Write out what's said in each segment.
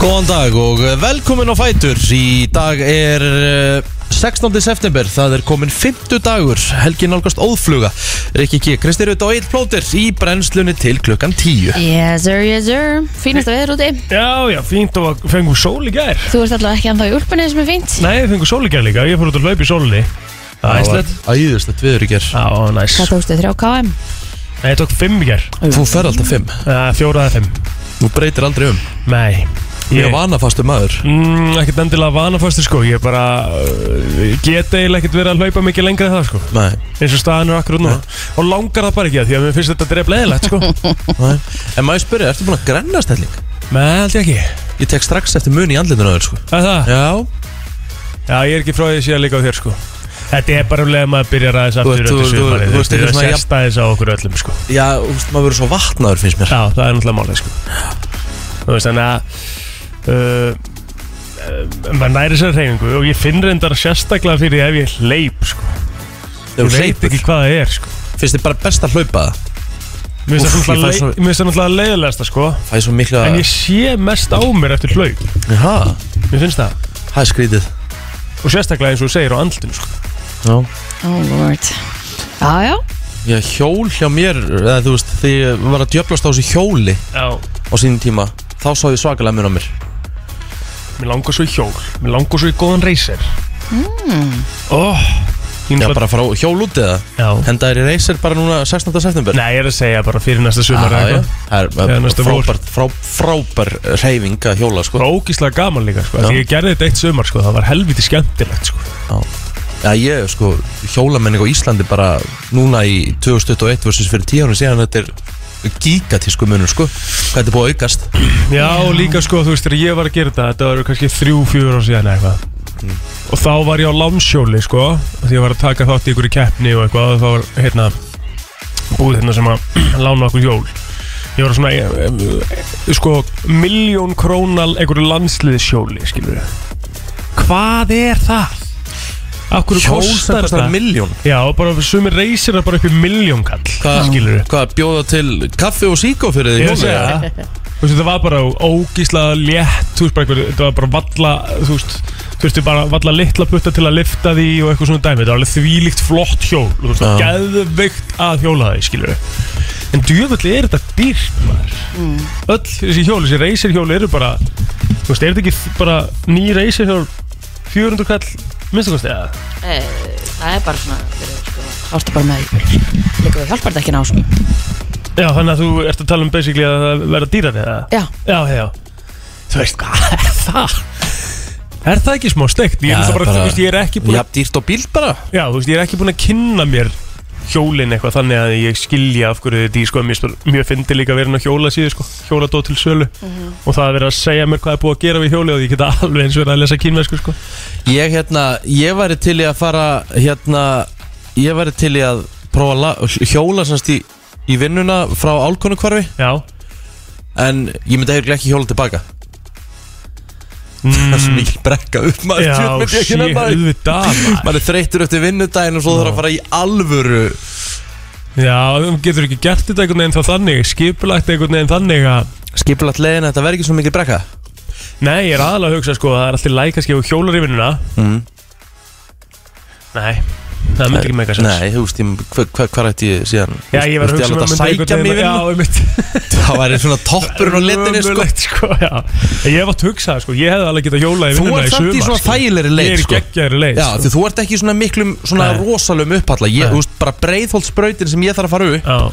Góðan dag og velkomin á Fætur Í dag er eh, 16. september, það er komin 50 dagur, helgin nálgast óðfluga Rikki G. Kristi Rutt og Eil Plóter í brennslunni til klukkan 10 Yes sir, yes sir Fínasta veður úti Já, já, fínt og að fengum sól í gær Þú ert allavega ekki ennþá í úlpunni sem er fínt Nei, við fengum sól í gær líka, ég fór út að laupa í sólinni Það er æslegt Æðislegt viður í ger Já, næs Hvað tókstu 3 KM? Nei, ég tók fimm í gær Þú fer alltaf 5, uh, Fjóra eða fimm þú breytir aldrei um Nei Ég er vanafastu maður mm, Ekkert endilega vanafastur sko Ég bara uh, get eiginlega ekkert verið að laupa mikið lengra en það sko Nei, Eins og staðan er akkur út núna Og langar það bara ekki að því að mér finnst þetta dreif leðilegt sko nei En maður spyrja, ertu búin að grenna stelling? Nei, held ég ekki Ég tek strax eftir mun í andlindinu á þér sko Það er það Já, Já, ég er ekki frá því síðan líka á þér sko Þetta er bara um leið að maður byrjar aðeins Þú aftur ert- þú- þetta þú- sumarið, þú ert Þetta eitthvað er að svona jafn- sérst aðeins á okkur öllum sko já, þú veist, maður verður svo vatnaður finnst mér Já, það er náttúrulega málið sko Þú veist, þannig að uh, uh, maður næri sér hreyfingu og ég finn reyndar sérstaklega fyrir því ef ég hleyp sko Þú Ég veit hleypur. ekki hvað það er sko Finnst þið bara best að hlaupa það? Mér finnst Úff, ég fæ svo- það náttúrulega lei- mér finnst það náttúrulega leiðilegasta sko Fæði svo miklu En að ég sé mest á mér eftir hlaup Jaha, Mér finnst það það er skrítið Og sérstaklega eins og þú segir á andlutinu sko Já Oh lord Já, já Já, hjól hjá mér, eða þú veist, þegar ég var að djöflast á þessu hjóli Já á sínum tíma, þá sá ég svakalega mér á mér. Mér langar svo í hjól Mér langar svo í góðan reyser Hmm. Ó, ég Já, náttúrulega- bara frá hjól út eða? Já Henda er í reysir bara núna 16. september. Nei, ég er að segja bara fyrir næsta sumar eða Ah, já, já. eitthvað. Það er Já, eh, næsta vor. frábær, frá, frábær reyfing að hjóla, sko. var ógíslega gaman líka sko. Já. Því ég gerði þetta eitt sumar sko. Það var helviti skemmtilegt sko. Já, ég, sko, hjólamenning á Íslandi bara núna í 2021 versus fyrir 10 árum síðan, þetta er gigatísku munur, sko. Hvað þetta er búið að aukast? Já og líka sko Þú veist þegar ég var að gera þetta Þetta var kannski þrjú, fjúr ár síðan eða eitthvað Og þá var ég á lámsjóli sko Því ég var að taka þátt í ykkur í keppni og eitthvað Og þá var hérna Búið hérna sem að lána okkur hjól Ég var á svona eh, eh, eh, Sko miljón krónal Einhverju landsliðsjóli skilur Hvað er það? Akkur Hjól sem kostar kostar þetta? miljón. Já, bara sumir reysir það bara upp í miljón kall Hvað, skilurðu? hvað bjóða til kaffi og síkó fyrir því Ég vil segja það Þú veist, þetta var bara ógíslega létt Þú veist, bara einhver, þetta var bara valla Þú veist, þú veist, bara valla litla putta til að lifta því og eitthvað svona dæmi Þetta var alveg þvílíkt flott hjól Þú veist, Já. geðveikt að hjóla því, skilur við En djöfulli er þetta dýrt, maður Öll þessi hjóli, þessi reysirhjóli eru bara Þú veist, er þetta ekki bara ný reysirhjól 400 kall minnstakosti eða? Eh, Það er bara svona fyrir, sko, Árstu bara með því Líka við hjálpar þetta ekki ná sko. Já, þannig að þú ert að tala um basically að það verða dýrari eða? Já, Já, já Þú veist hvað er það? Er það ekki smá steikt? Ég, Já, já, bara, bara- þú veist, ég, er ekki búin, Já, dýrt og bíl bara. já, þú veist, ég er ekki búin að kynna mér hjólin eitthvað þannig að ég skilja af hverju þetta í sko, mér, spyr- mér fyndi líka að vera hann að hjóla síðu sko, hjóladóð til sölu Mhm. og það að vera að segja mér hvað er búið að gera við hjóli og ég geta alveg eins verið að lesa kínvesku sko. Ég hérna, ég væri til í að fara hérna, ég væri til í að prófa að la- hjóla semst í, í vinnuna frá álkonu hvarfi Já, en ég myndi eiginlega ekki hjóla tilbaka það er svo mikil brekka upp maður Mm. já, djöfull myndi ég ekki sé, nefna því. auðvitað maður. maður er þreyttur eftir vinnudaginn og svo þarf að fara í alvöru Já, þú getur ekki gert þetta einhvern veginn þá þannig skipulagt einhvern veginn þannig að skipulagt leiðin þetta verður ekki svo mikil brekka Nei, ég er aðalega að hugsa sko að það er alltaf læg kannski og hjólar í vinnuna Mm. Nei, það myndi ekki mega sens Nei, þú veist, ég- hva- hva- hvað rætti ég síðan Já, ég var að hugsa um að sækja mig í Já, vinnu ég mitt það væri svona toppurinn á letinni sko. Ömurlegt, sko, já Ég hef átt hugsað sko, ég hefði alveg getað hjólað í þú vinnuna ert í sumar samt í svona þægilegri Ég leit er í sko. geggjæri leið Já, sko. því þú ert ekki í svona miklum, svona Nei. rosalum upphalla Ég, Nei. þú veist, bara breiðholtsbrautin sem ég þarf að fara upp Já,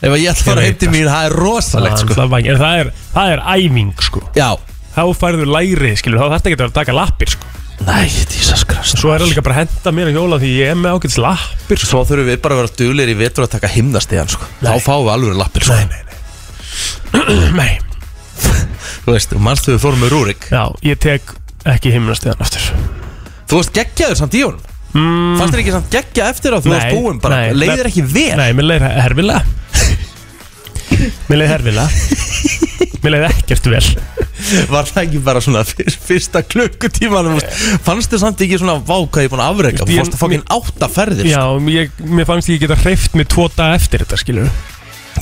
Ef að ég ætla að fara Ég heim veit til mín, það er það rosalegt, er sko alltaf væng- En það er, það er æfing sko Já Þá færðu læri, skilur, þá þarfst ekki að taka lappir sko Nei, Jesus Christ Svo er það líka bara að henda mér að hjóla því ég er með ágætis lappir sko. Svo þurfum við bara að vera duglir í vetur að taka himnastegan, sko Nei. Þá fáum við alveg lappir, sko Nei, nei, nei Nei, Þú veist, mannstu við fórum með Rúrik já, ég tek ekki himnastíðan aftur Þú varst geggjaður samt í honum mm. Fannst þér ekki samt geggja eftir að þú Nei, varst búinn bara nei, Leiðir nei. ekki vel Nei, mér leiði herfilega Mér leiði herfilega Mér leiði ekkert vel Var það ekki bara svona fyr, fyrsta klukkutíman þú veist, Fannst þér samt ekki svona vákaði búin að afreka Þú Ég- fórst að fokkin átta ferðir Já, ég, mér fannst ég geta hreift mig tvo daga eftir þetta, skilur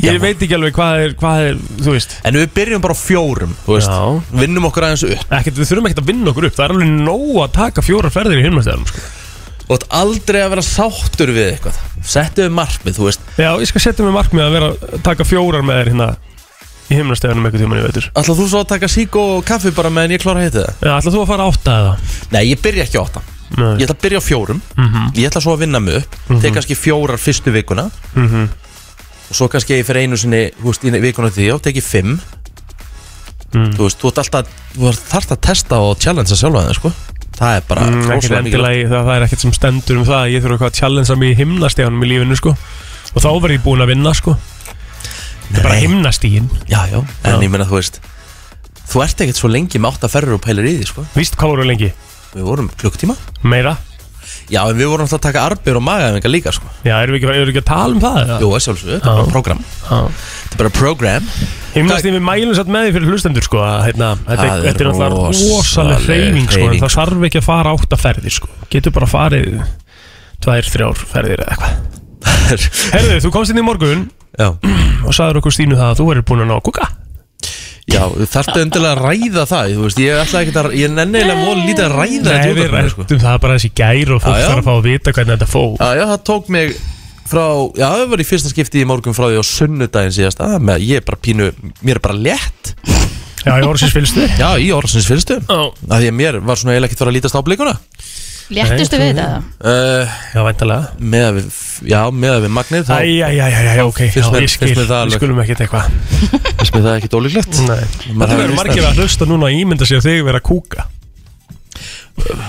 Ég veit ekki alveg hvað er, hvað er þú veist En við byrjum bara á fjórum, þú veist Já. Vinnum okkur aðeins upp ekkert, Við þurfum ekkert að vinna okkur upp Það er alveg nóg að taka fjóra ferðir í hinmestæðarum sko. Og þú ert aldrei að vera sáttur við eitthvað Settu við markmið, þú veist Já, ég skal setja mig markmið að vera að taka fjórar með þér hérna Í hinmestæðarum eitthvað tíma, ég veitur Ætla þú svo að taka sík og kaffi bara meðan ég klára að heita það? Já, ætla þú að fara átta eða? Nei, ég byrja ekki á átta Nei. Ég ætla að byrja á fjórum Ég ætla svo að vinna mig upp mm Tek kannski fjórar fyrstu vikuna Mhm. Og svo kannski ég fyrir einu sinni þú veist, í vikuna til því og teki fimm Mm. Þú veist, þú ert alltaf Þú þarft að testa og challengea sjálfa það, sko Það er bara Mm, ekkert rosalega mikilvægt. endilega, í- það, það er ekkert sem stendur um það að Ég þurfa eitthvað að challengea mig í himnastíðanum í lífinu sko. Og þá verð ég búin að vinna sko. Það er bara Nei. himnastíðin Já, já, en Já. ég meina, þú veist Þú ert ekkert svo lengi með átta ferður og pælir í því, sko Víst hvað voru lengi? Við vorum klukktíma Meira? Já, en við vorum alltaf að taka arbjör og magaðingar líka, sko Já, erum við ekki, erum við ekki að tala um það? eða? Jú, að sjálfsögðu, þetta er Já. bara program Já. Þetta er bara program Himnastíðin við mælum satt með því fyrir hlustendur sko. að, hérna, þetta, Það er- er þetta er náttúrulega rosaleg rosaleg hreyfing sko, En hreyfing, það þarf ekki að fara átta ferðir sko. Getur bara farið Tvær, þrjár ferðir eða eitthvað Herðu, þú komst inn í morgun Já og sagður okkur Stínu það að þú erir búin að ná að kúka Já, þarftu endilega að ræða það Þú veist, ég ætla ekki að Ég nenni eiginlega móð lítið að ræða þetta í Nei, við útvarpinu, sko. rættum það bara þessi gær og fólk Já, já. þarf að fá að vita hvernig þetta fór Já, já, það tók mig frá Já, það var í fyrsta skipti í morgun frá því á sunnudaginn síðast að, með, Ég er bara pínu, mér er bara létt Já, ég orðsins fylgstu Já, í orðsins fyrstu Já, Af því að mér var svona eiginlega ekki þurfa að lítast á blikuna Léttustu við þetta? uh, væntalega Með að við, já, með að við magnið Þá Æjæjæjæjæ, ok, já, Finnst mér- ég skil, finnst mér það við alveg. skulum ekkert eitthvað finnst mér það ekki dólíklegt Nei. Maður Þetta hafði verður víst margir að hlusta núna og ímynda sér þig vera að kúka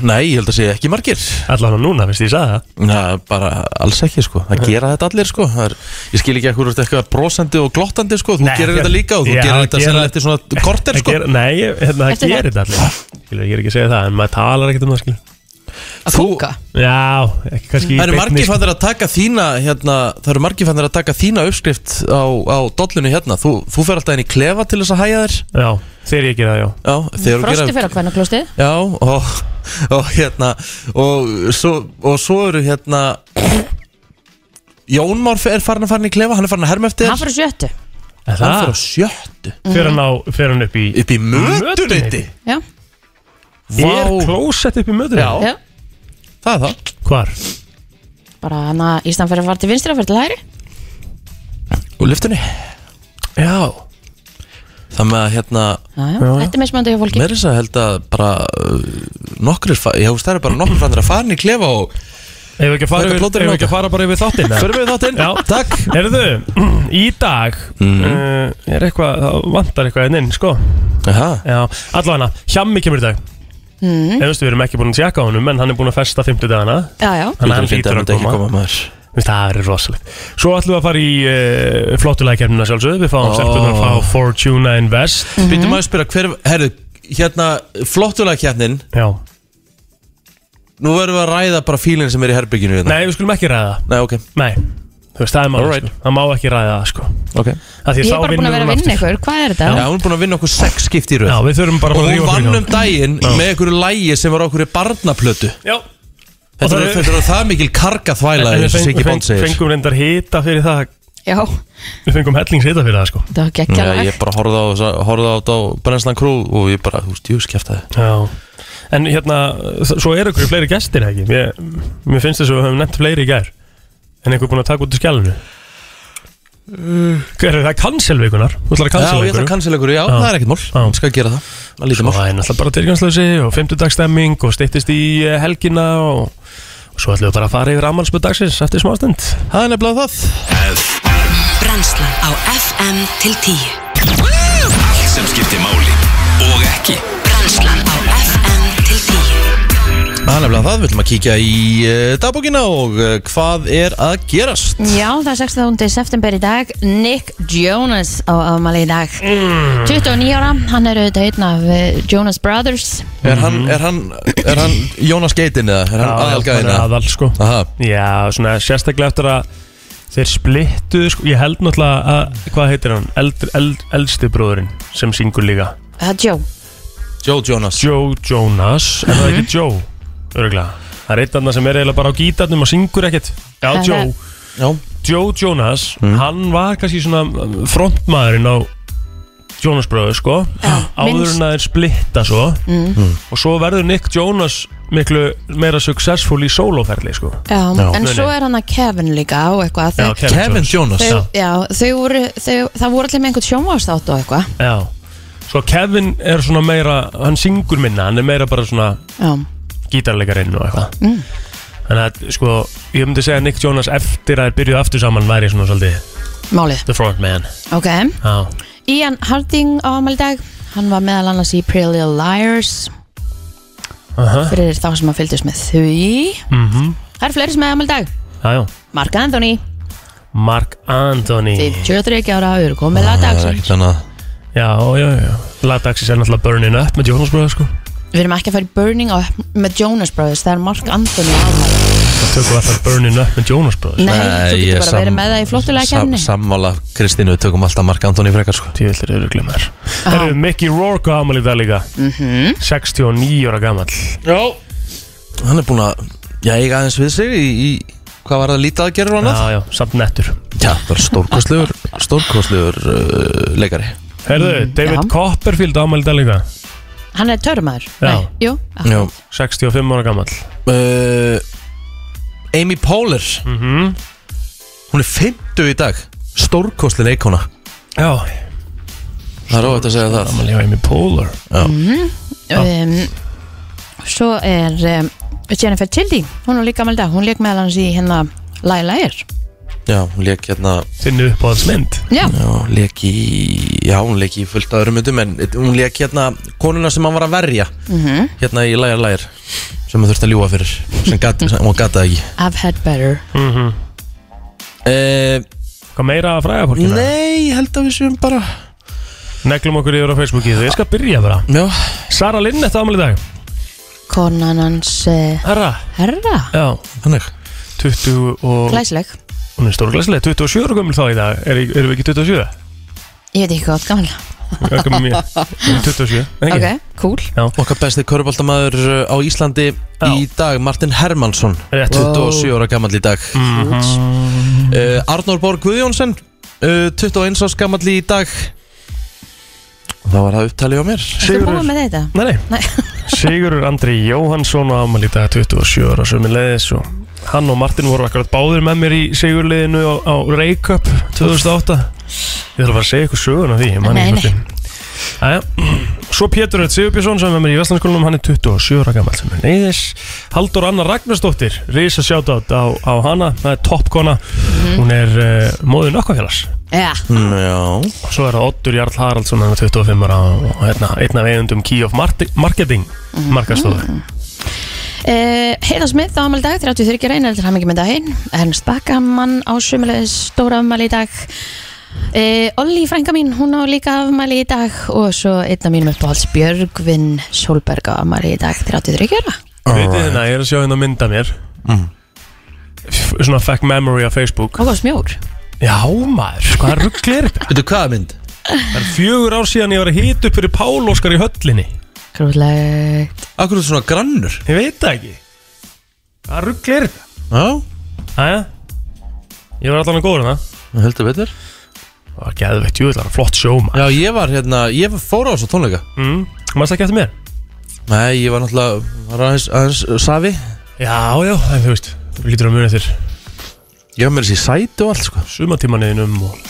Nei, ég held að segja ekki margir Allan á núna, finnst ég sagði það Na, bara alls ekki, sko Það gera þetta allir, sko Það er, Ég skil ekki að hverju eitthvað brosandi og glottandi, sko Þú Nei, gerir ég- þetta líka og þú Já, gerir þetta gera- sennilega eftir svona korter, Það sko ger- Nei, ég- hérna, það Eftir það? gerir þetta allir Skilur, Ég er ekki að segja það, en maður talar ekkert um það, skilur Að kúka? Já, ekki kannski í Það eru beinni, margir sko. fannir að taka þína hérna, Það eru margir fannir að taka þína uppskrift á, á dollunni hérna Þú, þú fer alltaf inn í klefa til þess að hæja þér Já, þegar ég gera það, já Já, þegar þú Frosti gera fyrir að hvernig klostið? Já, og, og hérna og svo, og svo eru hérna Jón Már er farin að farin í klefa Hann er farin að herma eftir Hann þér fyrir sjöttu Er Hann fyrir á Það, sjöttu fyrir hann á, fyrir hann upp í Upp í mötuneyti Já, Er klósett upp í möður? Já. já Það er það Hvar? Bara hann að Ísland fyrir að fara til vinstri og fyrir til hægri Og lyftunni Já Það með að hérna Já, já, Já. þetta er mismöndu hjá fólki Mér er þess að held að bara uh, Nokkrir, fa- ég hef stærði bara nokkrir fannir að farin í klefa og Ef við ekki að fara, Þetta yfir, plóterinn ef við ekki nota. að fara bara yfir þáttinn eða? Förum við þáttinn? Já. Takk Herðu, í dag Mhm. uh, er eitthvað, það vantar eitthvað enn inn, sko Aha. Já, allavega, Hjammi kemur í dag mm. Ég veist, við erum ekki búin að tjekka á honum En hann er búin að festa 50 dagana Já, já, Þannig að hann lítur að koma, koma. maður Það er rosalegt Svo ætlum við að fara í uh, flottulægkernina sjálfsögðu Við fáum Ó. oh. stelpunar frá Fortuna Invest Býtum maður að spyrja hver Herðu, hérna flottulega kjarnin Já Nú verðum við að ræða bara fílinn sem er í herbygginu hérna. Nei, við skulum ekki ræða það. Nei, ok, Nei, þú veist, það er máli Alright. sko. Það má ekki ræða það, sko ok Af því ég þá er bara búin vinnur að vera hún að vinna aftur. ykkur Hvað er þetta? um Já, hún er búin að vinna okkur sex skipt í röð Já, við þurfum bara Og að hún rífa okkur í vann um gang. daginn Já. með einhverju lægi sem var okkur í barnaplötu Já, Þetta eru það er- þetta eru það mikil karga þvæla En eins og feng- Siggi Bond feng- segir fengum reyndar hita fyrir það Já, Við fengum hellings hita fyrir það, sko þetta var Já, geggjalag ég bara horfði á, þessa- horfði á þetta á Brennslan Krú og ég bara, þú veist, jú, skeftaði Já En hérna, s- svo eru ykkur fleiri gestir ekki Mér, mér finnst þess að við höfum nefnt fleiri í gær En einhver búin að taka út í skjálfinu Hver er það? Kanselveikunar Þú ætlar að Uh, Já, ég ætla kanselveikur að cancel ykkur, já, Já. það er ekkert mál Já. Ég skal gera það, það er lítið mál Það er náttúrulega bara tilgangslösi og fimmtudagstemming og styttist í eh, helgina og, og svo ætlum við bara að fara yfir ammálspöð dagsins eftir smástund Það er nefnilega það Brennslan á FM til 10 Allt sem skiptir máli og ekki Brennslan á FM til 10 Það er nefnilega það, við viljum að kíkja í uh, dagbókina og uh, hvað er að gerast Já, það er 16. september í dag Nick Jonas á afmæli í dag Mm. 29 ára, hann er auðvitað einn af eh, Jonas Brothers Er hann, Mhm. er hann, er hann Jónas Geitin eða er hann aðalgæðin bara eða? aðal sko Aha, Já, svona sérstaklega eftir að þeir splittu sko, Ég held náttúrulega að, hvað heitir hann? Eldri, eld, eldsti bróðurinn sem syngur líka Það er Joe Joe Jonas Joe Jonas Er það ekki Joe? Örgulega Það er eitt annað sem er eiginlega bara á gítarnum og syngur ekkert Já, Það er- Joe Já, Joe Jonas Mhm. Hann var kannski svona um, frontmaðurinn á Jonas bröðu sko Áður minnst. en að þeir splitta svo Mhm. Og svo verður Nick Jonas miklu meira successful í soloferli sko já, en Nei, svo nei. er hann að Kevin líka og eitthvað Já, þau, Kevin Jonas þau, já, þau voru, þau, það voru allir með einhvern sjónvarstátt og eitthvað Já Svo Kevin er svona meira, hann syngur minna, hann er meira bara svona já, gítarleikarinn og eitthvað Þannig að sko, ég myndi segja að Nick Jonas eftir að þeir byrjuðu aftur saman væri svona svolítið málið, the front man ok Já, Ian Harding á amal dag hann var meðal annars í Pretty Little Liars Aha. fyrir þá sem að fylgdist með því mhm, það er fleiri sem er amal dag já, já Mark Anthony, Mark Anthony 53 ára, við erum komið lagdags Ah, ekkert annað Já, já, já Lagdagsins er náttúrulega Burning Up með Jonas Brothers sko Við erum ekki að fara í Burning Up með Jonas Brothers Það er Mark Anthony ámæli Það tökum alltaf Burning Up með Jonas Brothers Nei, þú getur bara verið með það í flottulega kemni Sammála Kristínu, við tökum alltaf Mark Antoni frekar sko Tíðvillir eru glimmer Herru, Mickey Rourke á amal í dag líka 69 ára gamall Hann er búin að, já, eiga aðeins við sig í, í hvað var það lítið að gera og annað? Já, já, samt nettur Já, það er stórkostlegur, stórkostlegur uh, leikari Herðu, David já. Copperfield á amal í dag líka Hann er törmaður Já. Ah. Nei, Jú, Já, 65 ára gamall uh, Amy Poehler Mhm. Hún er 50 í dag Stórkostleg leikona Já, Það er óvægt að segja það amal í Amy Poehler um, Svo er um, Jennifer Tildy Hún er líka amal dag Hún leik meðal hans í hérna Laila er Já, hún leik hérna Þinn uppáhaldsmynd Já, Já, hún leik í Já, hún leik í fullt af öðrum myndum En hún leik hérna konuna sem hann var að verja -hmm. Hérna í lægar lægar Sem hann þurfti að ljúga fyrir Sem gat, sem hún gataði ekki I've had better uh, Hvað meira að fræða fólkina? Nei, ég held að við séum bara Neglum okkur yfir á Facebooki Ég skal byrja bara Já, Sara Linnett ámæli dag Konan hans uh, Herra Herra Já þannig 20 og Glæsleg Hún er stórglæslega 27 ára gömul þá í dag er, Erum við ekki 27? Ég veit ekki hvað gamla Hvað gömul mér? Hún er 27 Nei, Ok, ekki? cool Okkar besti köruboltamaður uh, á Íslandi í dag Martin Hermansson Rétt. 27 ára gamall í dag uh, Arnór Borg Guðjónsson uh, 21 árs gamall í dag Það var það upptalið á mér Þú búið með þetta? Nei, nei Nei, Sigurur Andri Jóhansson á ámæli dag 27 ára sem er leiðis og Hann og Martin voru akkurat báðir með mér í Sigurliðinu á, á Reykjöp 2008 Ég þarf að fara að segja ykkur söguna því ég man Nei, ekki Æja, svo Pétur Öll Sigurbjörnsson sem er með mér í Vestlandskólanum, hann er 27 ára gammal sem er neyðis. Haldur Anna Ragnarsdóttir, risa sjátátt á, á hana, það er toppkona, Mhm. hún er uh, móðin okkafélags. já, Mm, Já, Svo er það Oddur Jarl Haraldsson, hann er 25 ára og, og hérna, einn af eigundum Key of Marti- Marketing, markastofu. Uh, Heiða Smith á amal dag, 33 reyna til hann ekki með daginn Ernst Bakkamann á sömulegis stóra afmæli í dag uh, Olli frænka mín, hún á líka afmæli í dag og svo einn af mínum uppáhalds Björgvin Solberg á afmæli í dag 33 ára Vitið hérna, ég er að sjá hérna mynda mér F- Svona fact memory á Facebook og góð smjór Já maður, hvað ruggli er þetta? veitu hvað mynd? Það er fjögur ár síðan ég var að hita upp fyrir Pál Óskar í höllinni Krúllegt Akkur er þetta svona grannur Ég veit það ekki Hvað ruggli er þetta? Já, Æja Ég var allan að góður um það heldur betur Það var geðveitt, jú, það var flott sjó maður Já, ég var hérna, ég fór á þessu tónleika mm. Mæst ekki eftir mér? Nei, ég var náttúrulega, var aðeins, aðeins uh, safi Já, já, en þú veist Þú lítur að muna eftir Ég var með þessi sæti og allt sko sumatímaneðinum og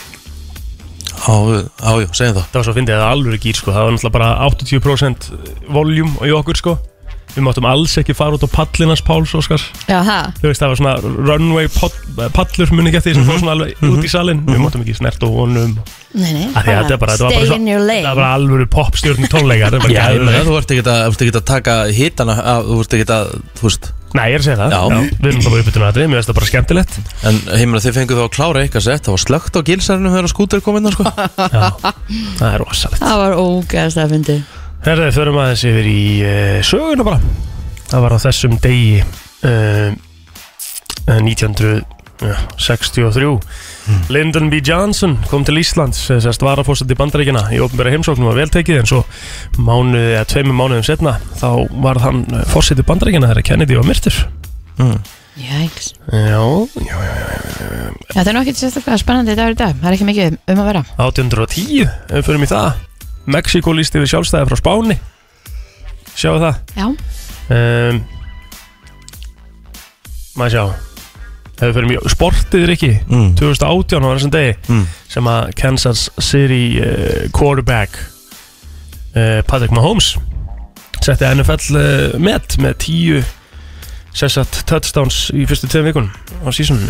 Á, á, já, segjum það það var svo að fyndið að það alveg gýr sko, það var náttúrulega bara 80% voljum í okkur sko Við máttum alls ekki fara út á pallinans Páls Óskars Já, það þú veist það var svona runway pod- pallur muni ekki eftir Mhm. sem fór svona alveg út í salin við máttum ekki snert og honum Nei, nei, að því að þetta er bara, þetta var bara stay svo, in your það lane var bara alvöru popstjórn tónleikar það var Já, ég meina, gæður þú ert ekkert að, þú ert ekkert að taka hitana, að, þú ert ekkert að, þú veist Nei, ég er að segja það, Já. við erum það bara uppbytun aðrið, mér finnst það bara skemmtilegt En heimina þið fenguð þá að klára eitthvað sett Það var slögt á gilsarinu þegar skútur kom inn sko. Það er rosalegt Það var ógæðast að fyndi Herðið, förum aðeins yfir í uh, söguna bara Það var á þessum degi uh, 1963 Lyndon B. Johnson kom til Íslands eh, sérst varafórsætt í bandaríkina í ofnbæra heimsóknum var veltekið en svo mánuði eh, eða tveimur mánuðum setna þá var hann fórsætt í bandaríkina þegar Kennedy var myrtur Mm. Jæks Já, já, já, já Þetta er nú ekkert sérstaklega spennandi dagur í dag Það er ekki mikið um að vera 1810, ef við förum í það Mexiko líst yfir sjálfstæði frá Spáni Sjáu það Já, um, Maður sjá Ef við förum í sportið er ekki Mm. 2018 á þessum degi Mm. sem að Kansas City uh, quarterback uh, Patrick Mahomes setti NFL uh, met með 10 sessat touchdowns í fyrstu tveim vikun á sísunum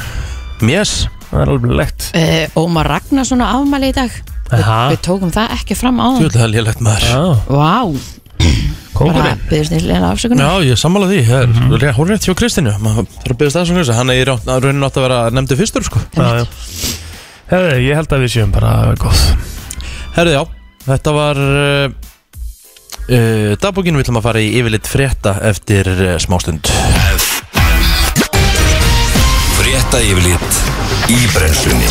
Yes það er alveg legt uh, Ómar Ragnarsson á afmæli í dag Aha. Við tókum það ekki fram á hann Tjóðlega lélegt maður Já, Vá, bara kongurinn byrðist nýlega afsökunar Já, ég sammála því, það er mm -hmm. hórnett hjá Kristinu maður þarf að byrja stafsönglis hann er í raun- að rauninu átt að vera nefndi fyrstur sko. Já, já. Herðu, ég held að við séum bara góð Herði já, þetta var uh, uh, dagbúkinu við ætlum að fara í yfirleitt frétta eftir uh, smástund Frétta yfirlit í brennslunni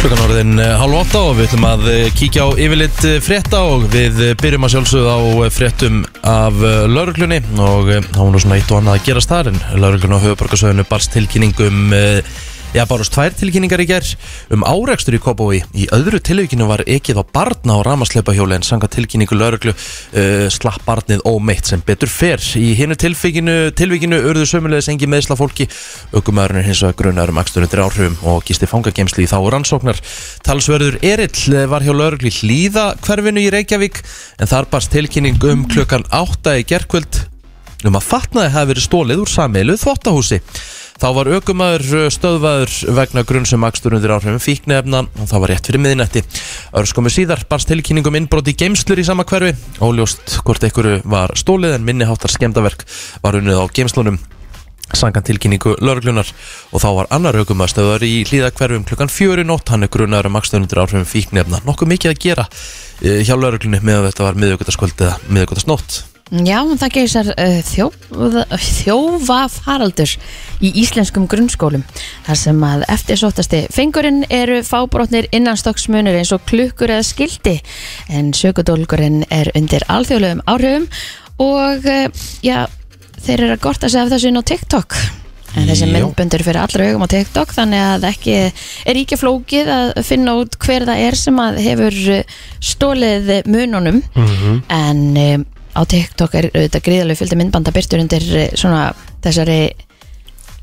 Klukkan orðin uh, hálf átta og við ætlum að uh, kíkja á yfirleitt uh, frétta og við uh, byrjum að sjálfsögða á uh, fréttum af uh, lauruglunni og uh, þá var nú svona eitt og annað að gerast þar en lauruglun á höfuborgarsöðinu barst tilkynningum uh, Já, bárust tvær tilkynningar í gerð um árekstur í Kópói. Í öðru tilvíkinu var ekið á barna á ramasleipahjóli en sanga tilkynningu lauruglu uh, slapp barnið ómeitt sem betur fer. Í hinnu tilvíkinu, tilvíkinu urðu sömulegis engi meðsla fólki. Ökumæðurinn hins vegar grunar um akstur undir áhrifum og gisti fangagemsli í þá rannsóknar. Talsverður Erill eh, var hjá lauruglu hlýða hverfinu í Reykjavík en þar barst tilkynning um klukkan 8 í gerkvöld um að fatnaði hafi verið stólið úr sameilu þvottahúsi. Þá var aukumæður stöðvaður vegna grunn sem akstur undir áhrifum fíknefna og það var rétt fyrir miðinetti. Örskomu síðar barst tilkynningum innbrot í geimslur í sama hverfi. Óljóst hvort einhverju var stólið en minniháttar skemdaverk var unnið á geimslunum sangan tilkynningu lauruglunar og þá var annar aukum að stöðar í hlýðakverfum klukkan fjöru nótt, hann er grunar um akstunundur áhrifum fíknefna, nokkuð mikið að gera eh, hjá lauruglunni með að þetta var miðugutaskvöld eða miðugutasnótt Já, það geysar uh, þjófa, þjófa faraldur í íslenskum grunnskólum þar sem að eftirsóttasti fengurinn eru fábrotnir innanstokksmunur eins og klukkur eða skildi en sökudólgurinn er undir alþjóðlegum áhrifum og uh, já, þeir eru að gorta sig af þessu inn á TikTok en þessi Jó. myndböndur fyrir allra augum á TikTok þannig að ekki er ekki flókið að finna út hver það er sem að hefur eh, stólið mununum en um, á TikTok er auðvitað gríðalegu fjöldi myndbanda byrtur undir eh, svona þessari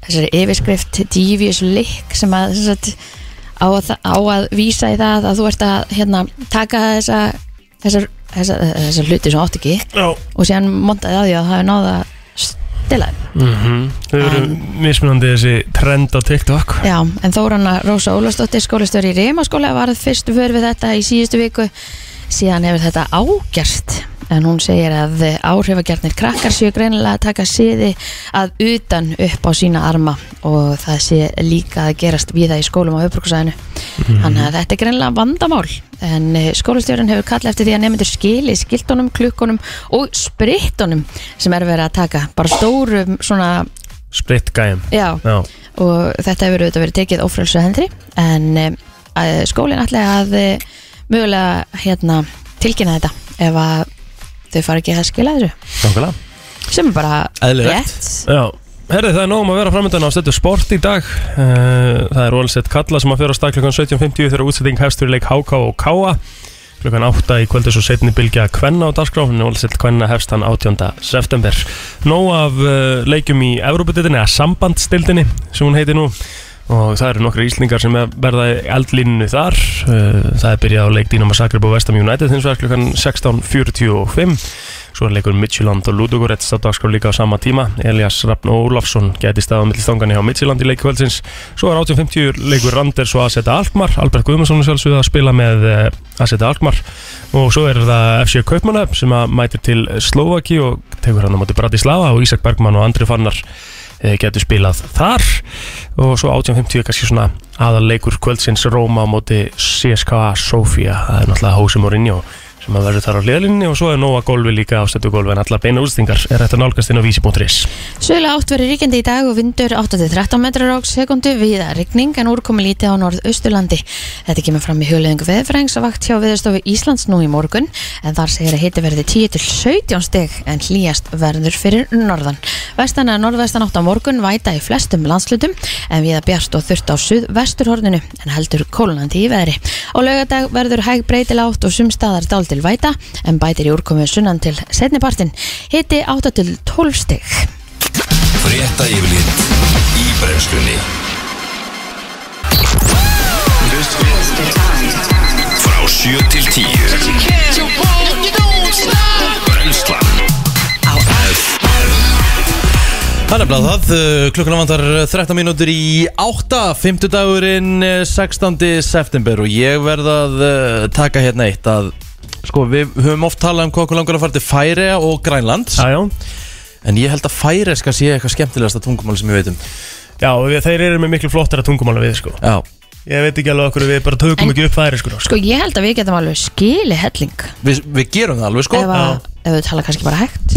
þessari yfirskrift Devious Lick sem að sem sagt, á, að, þa- á að vísa í það að þú ert að hérna, taka þessa þessar, þessar, þessar hluti sem átt ekki Já og síðan montaði að því að það hefur náða stila þeim Þau eru mismunandi þessi trend á TikTok Já, en Þóranna Rósa Ólafsdóttir skólastöri í Reymaskóla varð fyrst vör við þetta í síðustu viku síðan hefur þetta ágerst en hún segir að áhrifagjarnir krakkar séu greinilega að taka siði að utan upp á sína arma og það sé líka að gerast viða í skólum á höfbruksæðinu þannig að þetta er greinilega vandamál en eh, skólastjórinn hefur kallað eftir því að nefnendur skili skiltunum, klukkunum og sprittunum sem er verið að taka bara stórum svona, Split gæm já, Já og þetta hefur auðvitað verið tekið ófrælsu hendri en eh, að skólinn ætlaði að eh, mögulega hérna, tilkynna þetta ef að þau fara ekki að skila þessu Nákvæmlega sem er bara Eðlilegt. rétt Já Herði, það er nóg um að vera framöndan á stöðu sport í dag Eh, Það er Rólsett Kalla sem að fyrir á stað klukkan 17.50 þegar útsetting hefst fyrir leik HK og KA klukkan 8 í kvöldu svo setni bylgja Kvenna á dagskráfinu Rólsett Kvenna hefst hann 18. september Nóg af eh, leikjum í Evrópudildinni eða sambandstildinni sem hún heiti nú og það eru nokkri íslningar sem verða í eldlíninu þar Eh, það er byrjað á leik Dínama Sakrib og Vestam United hins vegar klukkan 16.45 Svo er leikur Midtjylland og Ludogorets á dagskrá líka á sama tíma. Elias Rafn Ólafsson gæti staða á millstangan hjá Midtjylland í leikvöldsins. Svo er 18.50 leikur Randers og Aseta Alkmar. Albert Guðmundsson er sjálfsögð að spila með eh, Aseta Alkmar. Og svo er það FC Kaupmannöf sem að mætir til Slovaki og tekur hann á móti Bratislava og Ísak Bergmann og Andri Fannar getur spilað þar og svo 18.50 er kannski svona aðal leikur kvöldsins Róma á móti CSKA Sofía það er náttúrulega Hósi Mourinho sem sem að verður þar á hliðlinni og svo er nóga gólfi líka ástættu gólfi en allar beina útstingar er þetta nálgast inn á vísi.is Sögulega átt verið ríkjandi í dag og vindur 8-13 metrar á sekundu viða rigning en úrkomi lítið á norðausturlandi. Þetta kemur fram í hugleðingu veðfrængs að vakt hjá viðstofu Íslands nú í morgun en þar segir að hiti verði 10-17 steg en hlýjast verður fyrir norðan. Vestan að norðvestan átt á morgun væta í flestum landslutum en viða bjart og þurft á suðvesturhorninu en heldur kólunandi í veðri. Á laugardag verður hæg breytil átt og sumstaðar dál til væta en bætir í úrkomi sunnan til setnipartin. Hiti 8-12 steg. Frétta yfirlit í brennslunni Frá 7 til 10 Brennslan á F Það er nefnilega það, uh, klukkuna vantar uh, 13 mínútur í 8, 50 dagurinn 16. september og ég verð að uh, taka hérna eitt að sko við höfum oft talað um hvað okkur langar að fara til Færea og Grænlands Jájá en ég held að Færeska sé eitthvað skemmtilegasta tungumál sem ég veit um Já, og við- þeir eru með miklu flottara tungumála við sko Já, Ég veit ekki alveg okkur við bara tökum En- ekki upp færi sko Sko ég held að við getum alveg skili helling við, við gerum það alveg sko ef, að, ef við tala kannski bara hægt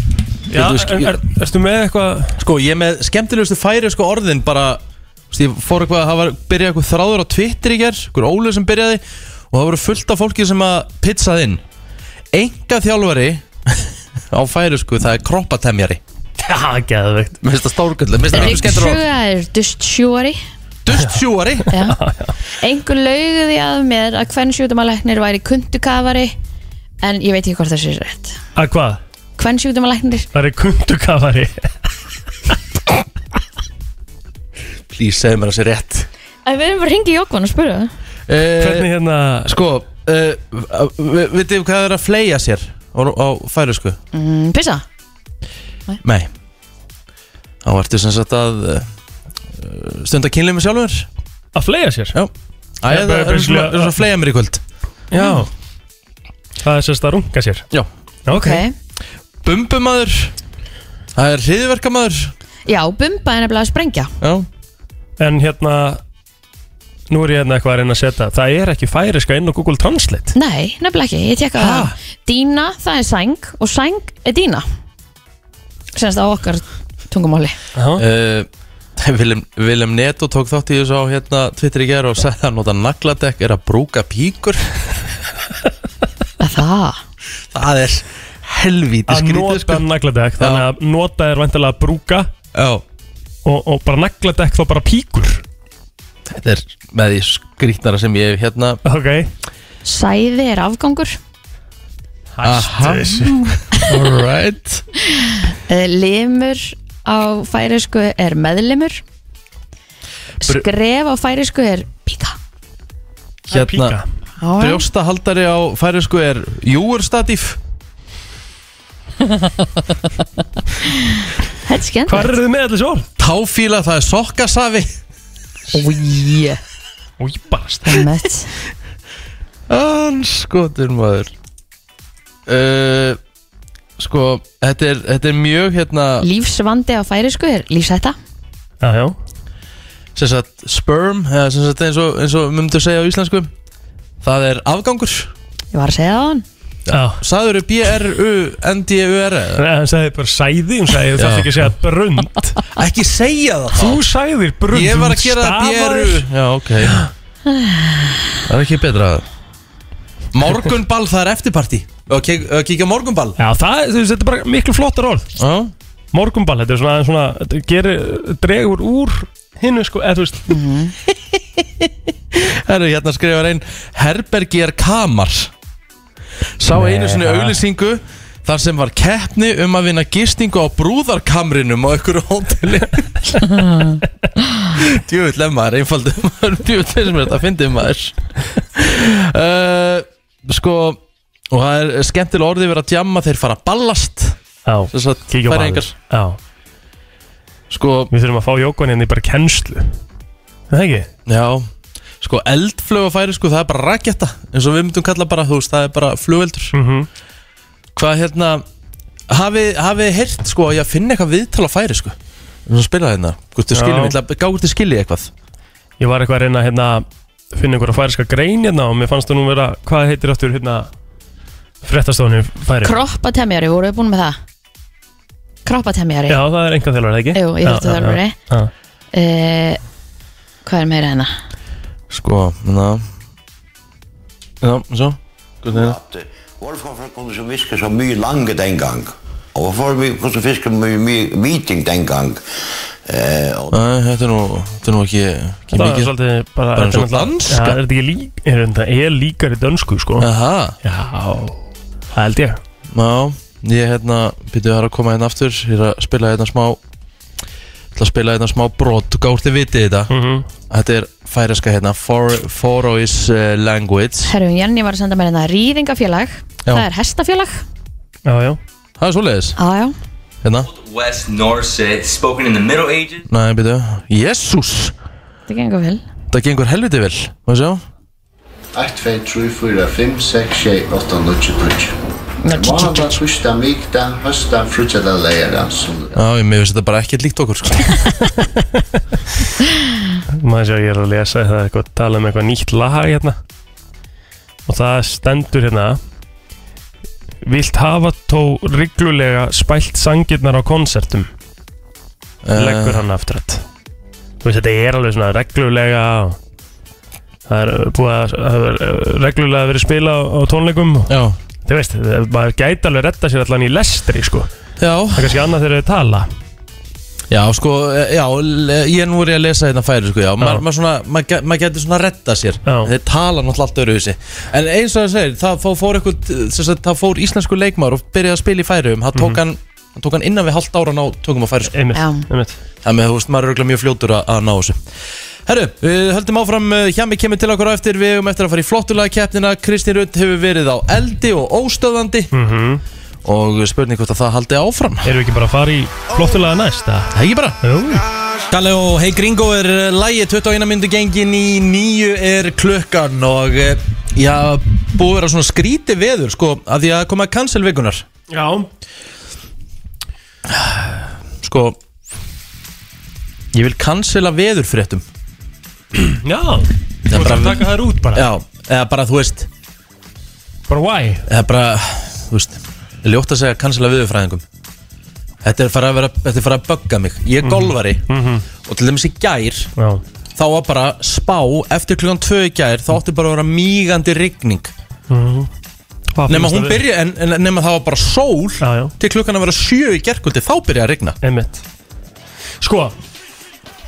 Já, Getur við skil- en er, erstu með eitthvað Sko ég er með skemmtilegustu Færeska orðin bara þú veist, ég fór eitthvað að hafa byrjað eitthvað þráður á Twitter í ger eitthvað ólega sem byrjaði og það voru fullt af fólki sem að pizzað inn Enga þjálfari á Færesku, það er kroppatemjari Já, geðveikt Mér finnst það stórgöldlega, mér finnst það skemmtilega Ríksjöður, dustsjóri Dustsjúari Engur laugði að mér að hvern sjúkdómalæknir væri kundukafari En ég veit ekki hvort það sé rétt Að hvað? Hvern sjúkdómalæknir Það er kundukafari Please, segðu mér að sé rétt Æ, Við erum bara að ringa í Jókvan og spura það eh, Hvernig hérna Sko, eh, vitið þið hvað er að fleja sér á, á sko? Færesku? mm, Pissa Nei Þá ertu sem sagt að eh, stunda kynlið með sjálfur Að flega sér? Æ, Já, það bara er svona basically- það er svona að fleja mér í kvöld Já Það er sérst að runga sér Já. Ok, Bumbumadur Það er hriðverkamadur Já, bumba er nefnilega að sprengja Já En hérna Nú er ég hérna eitthvað að reyna að setja Það er ekki færiska inn á Google Translate Nei, nefnilega ekki, ég tekka Ha? það Dína, það er sæng og sæng er dína Sennst á okkar tungumáli Já Eh, Willem, Willem Neto tók þátt í þessu á hérna Twitter í gera og sagði að nota nagladekk er að brúka píkur Er Það Það er helvíti Að skrítið nota sko nagladekk Þannig að nota er vantilega að brúka Já, og, og bara nagladekk þá bara píkur þetta er með því skrítnara sem ég hef hérna Ok Sæði er afgangur Aha. Hérna- Alright Eh, Limur á færisku er meðlimur Bru- Skref á færisku er píka Hérna Píka Hérna, brjóstahaldari á færisku er júurstatíf Þetta er Hvar skemmt eru þið með allir svo orð? Táfíla, það er sokkasafi Új, Új, barast einmitt Anskotur maður uh, Sko, þetta er, þetta er mjög hérna Lífsvandi á færisku er lífshætta Já, já sem sagt, sperm eða sem sagt, eins og, eins og myndu segja á íslensku Það er afgangur Ég var að segja það á hann Já Sæður er B-R-U-N-D-U-R E eða? Nei, hann sagði bara sæði, hún sagði þú Já. þarft ekki að segja brund Ekki segja það Þú sagðir brund Ég var að gera það stafaðir- BRU Já, ok Það er ekki betra Morgunball, það er eftirparti Og kík- og kíkja á morgunball Já, það, þú veist, þetta er bara miklu flottar orð Já, Morgunball, þetta er svona, aðeins svona þetta gerir, dregur úr hinnu sko, eða þú veist herru, hérna skrifar einn Herbergi er kamar Sá Nei, einu sinni ha? auglýsingu Þar sem var keppni um að vinna gistingu á brúðarkamrinum á einhverju hóteli Djöfull ef maður, einfaldum maður Djöfull þeir sem er þetta að fyndi maður uh, Sko, og það er skemmtilega orðið verið að djamma Þeir fara að ballast Já, Þess að kíkjum færa engar aðeins Já, Sko, við þurfum að fá jókvæðin inn í bara kennslu Það ekki? já Sko, eldflög á færi, sko, það er bara raketta eins og við myndum kalla bara, þú veist, það er bara flugveldur Mm Hvað, hérna Hafið hafi heyrt, sko, að ég finna eitthvað viðtal á færi, sko Svo spila hérna, gústu Já. skiljum, gáður til skilji eitthvað Ég var eitthvað að reyna hérna, að finna einhverja færiska grein hérna og mér fannst það nú vera, hvað heitir aftur hérna Frettastofunni færi Kroppatemjari, voru við búin með það? Kroppatemjari Já, það er enga þjálfari, ekki? Jú, ég Já, þurfti já, þjálfari. já. Já. uh, Hvað er meira hérna? Sko, na Ja, zo Goed, ja. Dat, eh, Wolfgang van kon zo visken zo meer lange dengang. Of voor mij kon zo visken meer meer meeting dengang. Eh, Nei, þetta er nú, þetta er nú ekki, ekki Það er mikið svolítið bara Bara eins og þetta er náttúrulega- danska. Já, er þetta ekki lík Er þetta er líkari dönsku, sko Aha, Já, það held ég já, ég hérna, byrjuðu að koma hérna aftur Ég er að spila hérna smá ætla að spila hérna smá brot, gárt þið vitið þetta Mhm. Þetta er færeska hérna, Forois uh, Language Herru, Jenny var að senda mér hérna Rýðingafélag Já. Það er hestafélag Já, já Það er svoleiðis, ah, já. hérna West Norse spoken in the Middle Ages. Nei, byrjuðu, jésús Það gengur vel Það gengur helviti vel, maður sjá 1, 2, 3, 4, 5, 6, 7, 8, 9, 10. Mánadag, tvísdag, miðdag, höstdag, frútjadag, leiðardag, sunnudag. Já, ég mér finnst þetta bara ekkert líkt okkur, sko Maður séu, ég er að lesa Það er eitthvað að tala um eitthvað nýtt lag hérna Og það stendur hérna Vilt hafa tó reglulega spælt sangirnar á konsertum Eh. leggur hann aftur að þú veist þetta er alveg svona reglulega og það er uh, búið að það er uh, reglulega verið spila á, á tónleikum og Eh, Já, þú veist, það- maður gæti alveg retta sér allan í lestri sko, já það er kannski annað þegar þau tala Já, sko, eh, já, le- ég nú voru ég að lesa hérna færi, sko, já, maður ma svona, maður ge- maður getur svona að retta sér, Já. þeir tala náttúrulega allt öruvísi, en eins og það segir, það fó- fór eitthvað, sem sagt, það fór íslensku leikmaður og byrjaði að spila í færium, það Mhm. tók hann, hann tók hann innan við halvt ára að ná tökum að færi, sko, einmitt, Já. einmitt. þannig að þú veist, maður er auðvitað mjög fljótur að, að ná þessu. Herru, við höldum áfram, eh, Hjami kemur til okkur á eftir, við höfum eftir að fara í flottulagakeppnina, Kristín Rutt hefur verið á eldi og óstöðandi og spurning hvort að það haldi áfram. erum við ekki bara að fara í flottulega næst að Það er ekki bara. Jú, Kalle og Hey Gringo er eh, lægi 21 myndu gengin í nýju er klukkan og eh, já, búið að vera svona skríti veður sko, að því að koma að cancel vikunar já, sko ég vil cancela veður fréttum já þú veist bara- að taka þær út bara, já, eða bara þú veist bara why eða bara, þú veist ljótt að segja cancela veðurfræðingum þetta er farið að vera, þetta er farið að bögga mig ég er golfari og til dæmis í gær já, þá var bara spá eftir klukkan 2 í gær þá átti bara að vera mígandi rigning Hvað Nefn að finnst hún þér? byrja, en, en nema það var bara sól Já, já. Til klukkan að vera sjö í gerkvöldi Þá byrja að rigna Einmitt Sko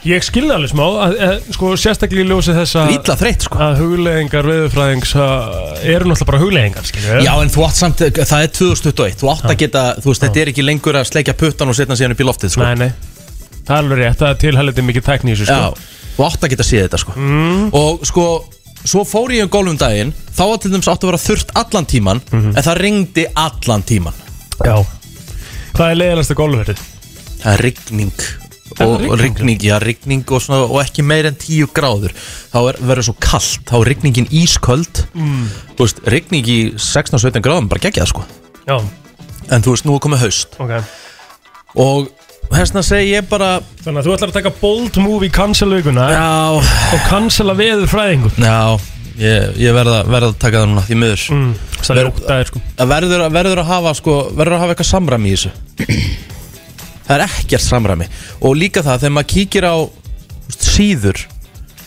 Ég skilði alveg smá að, að, Sko sérstaklega í ljósi þess að Ítla þreytt sko Að hugleðingar veðurfræðings að- Eru náttúrulega bara hugleðingar skilur Já en þú átt samt, það er 2021 Þú átt að geta, þú veist, þetta er ekki lengur að sleikja puttan Og setna síðan upp í loftið sko Nei, nei Það er alveg rétt Það er tilhælið mikið tækni í þessu sko Já, þú átt að geta séð þetta sko Og sko, svo fór ég um golfum daginn Þá var til dæmis átt að vera þurrt allan tíman En það ringdi allan tíman Já Hvað er leiðilegasta golfverðið? Það er rigning er og rigning. og rigning, já, rigning og, svona, og ekki meir en 10 gráður þá er, verður svo kallt, þá er rigningin ísköld mm. þú veist, rigning í 16-17 gráðum, bara geggja það sko Já, en þú veist, nú er komið haust ok og hérna segi ég bara Þannig að þú ætlar að taka bold move í cancel-auguna já, Og cancela veðurfræðingun já ég, ég verða, verða að taka það núna því miður mm. Það er Ver- ótaðir sko það verður, að- verður að hafa sko, verður að hafa eitthvað samræmi í þessu það er ekkert samræmi og líka það, þegar maður kíkir á þú veist, síður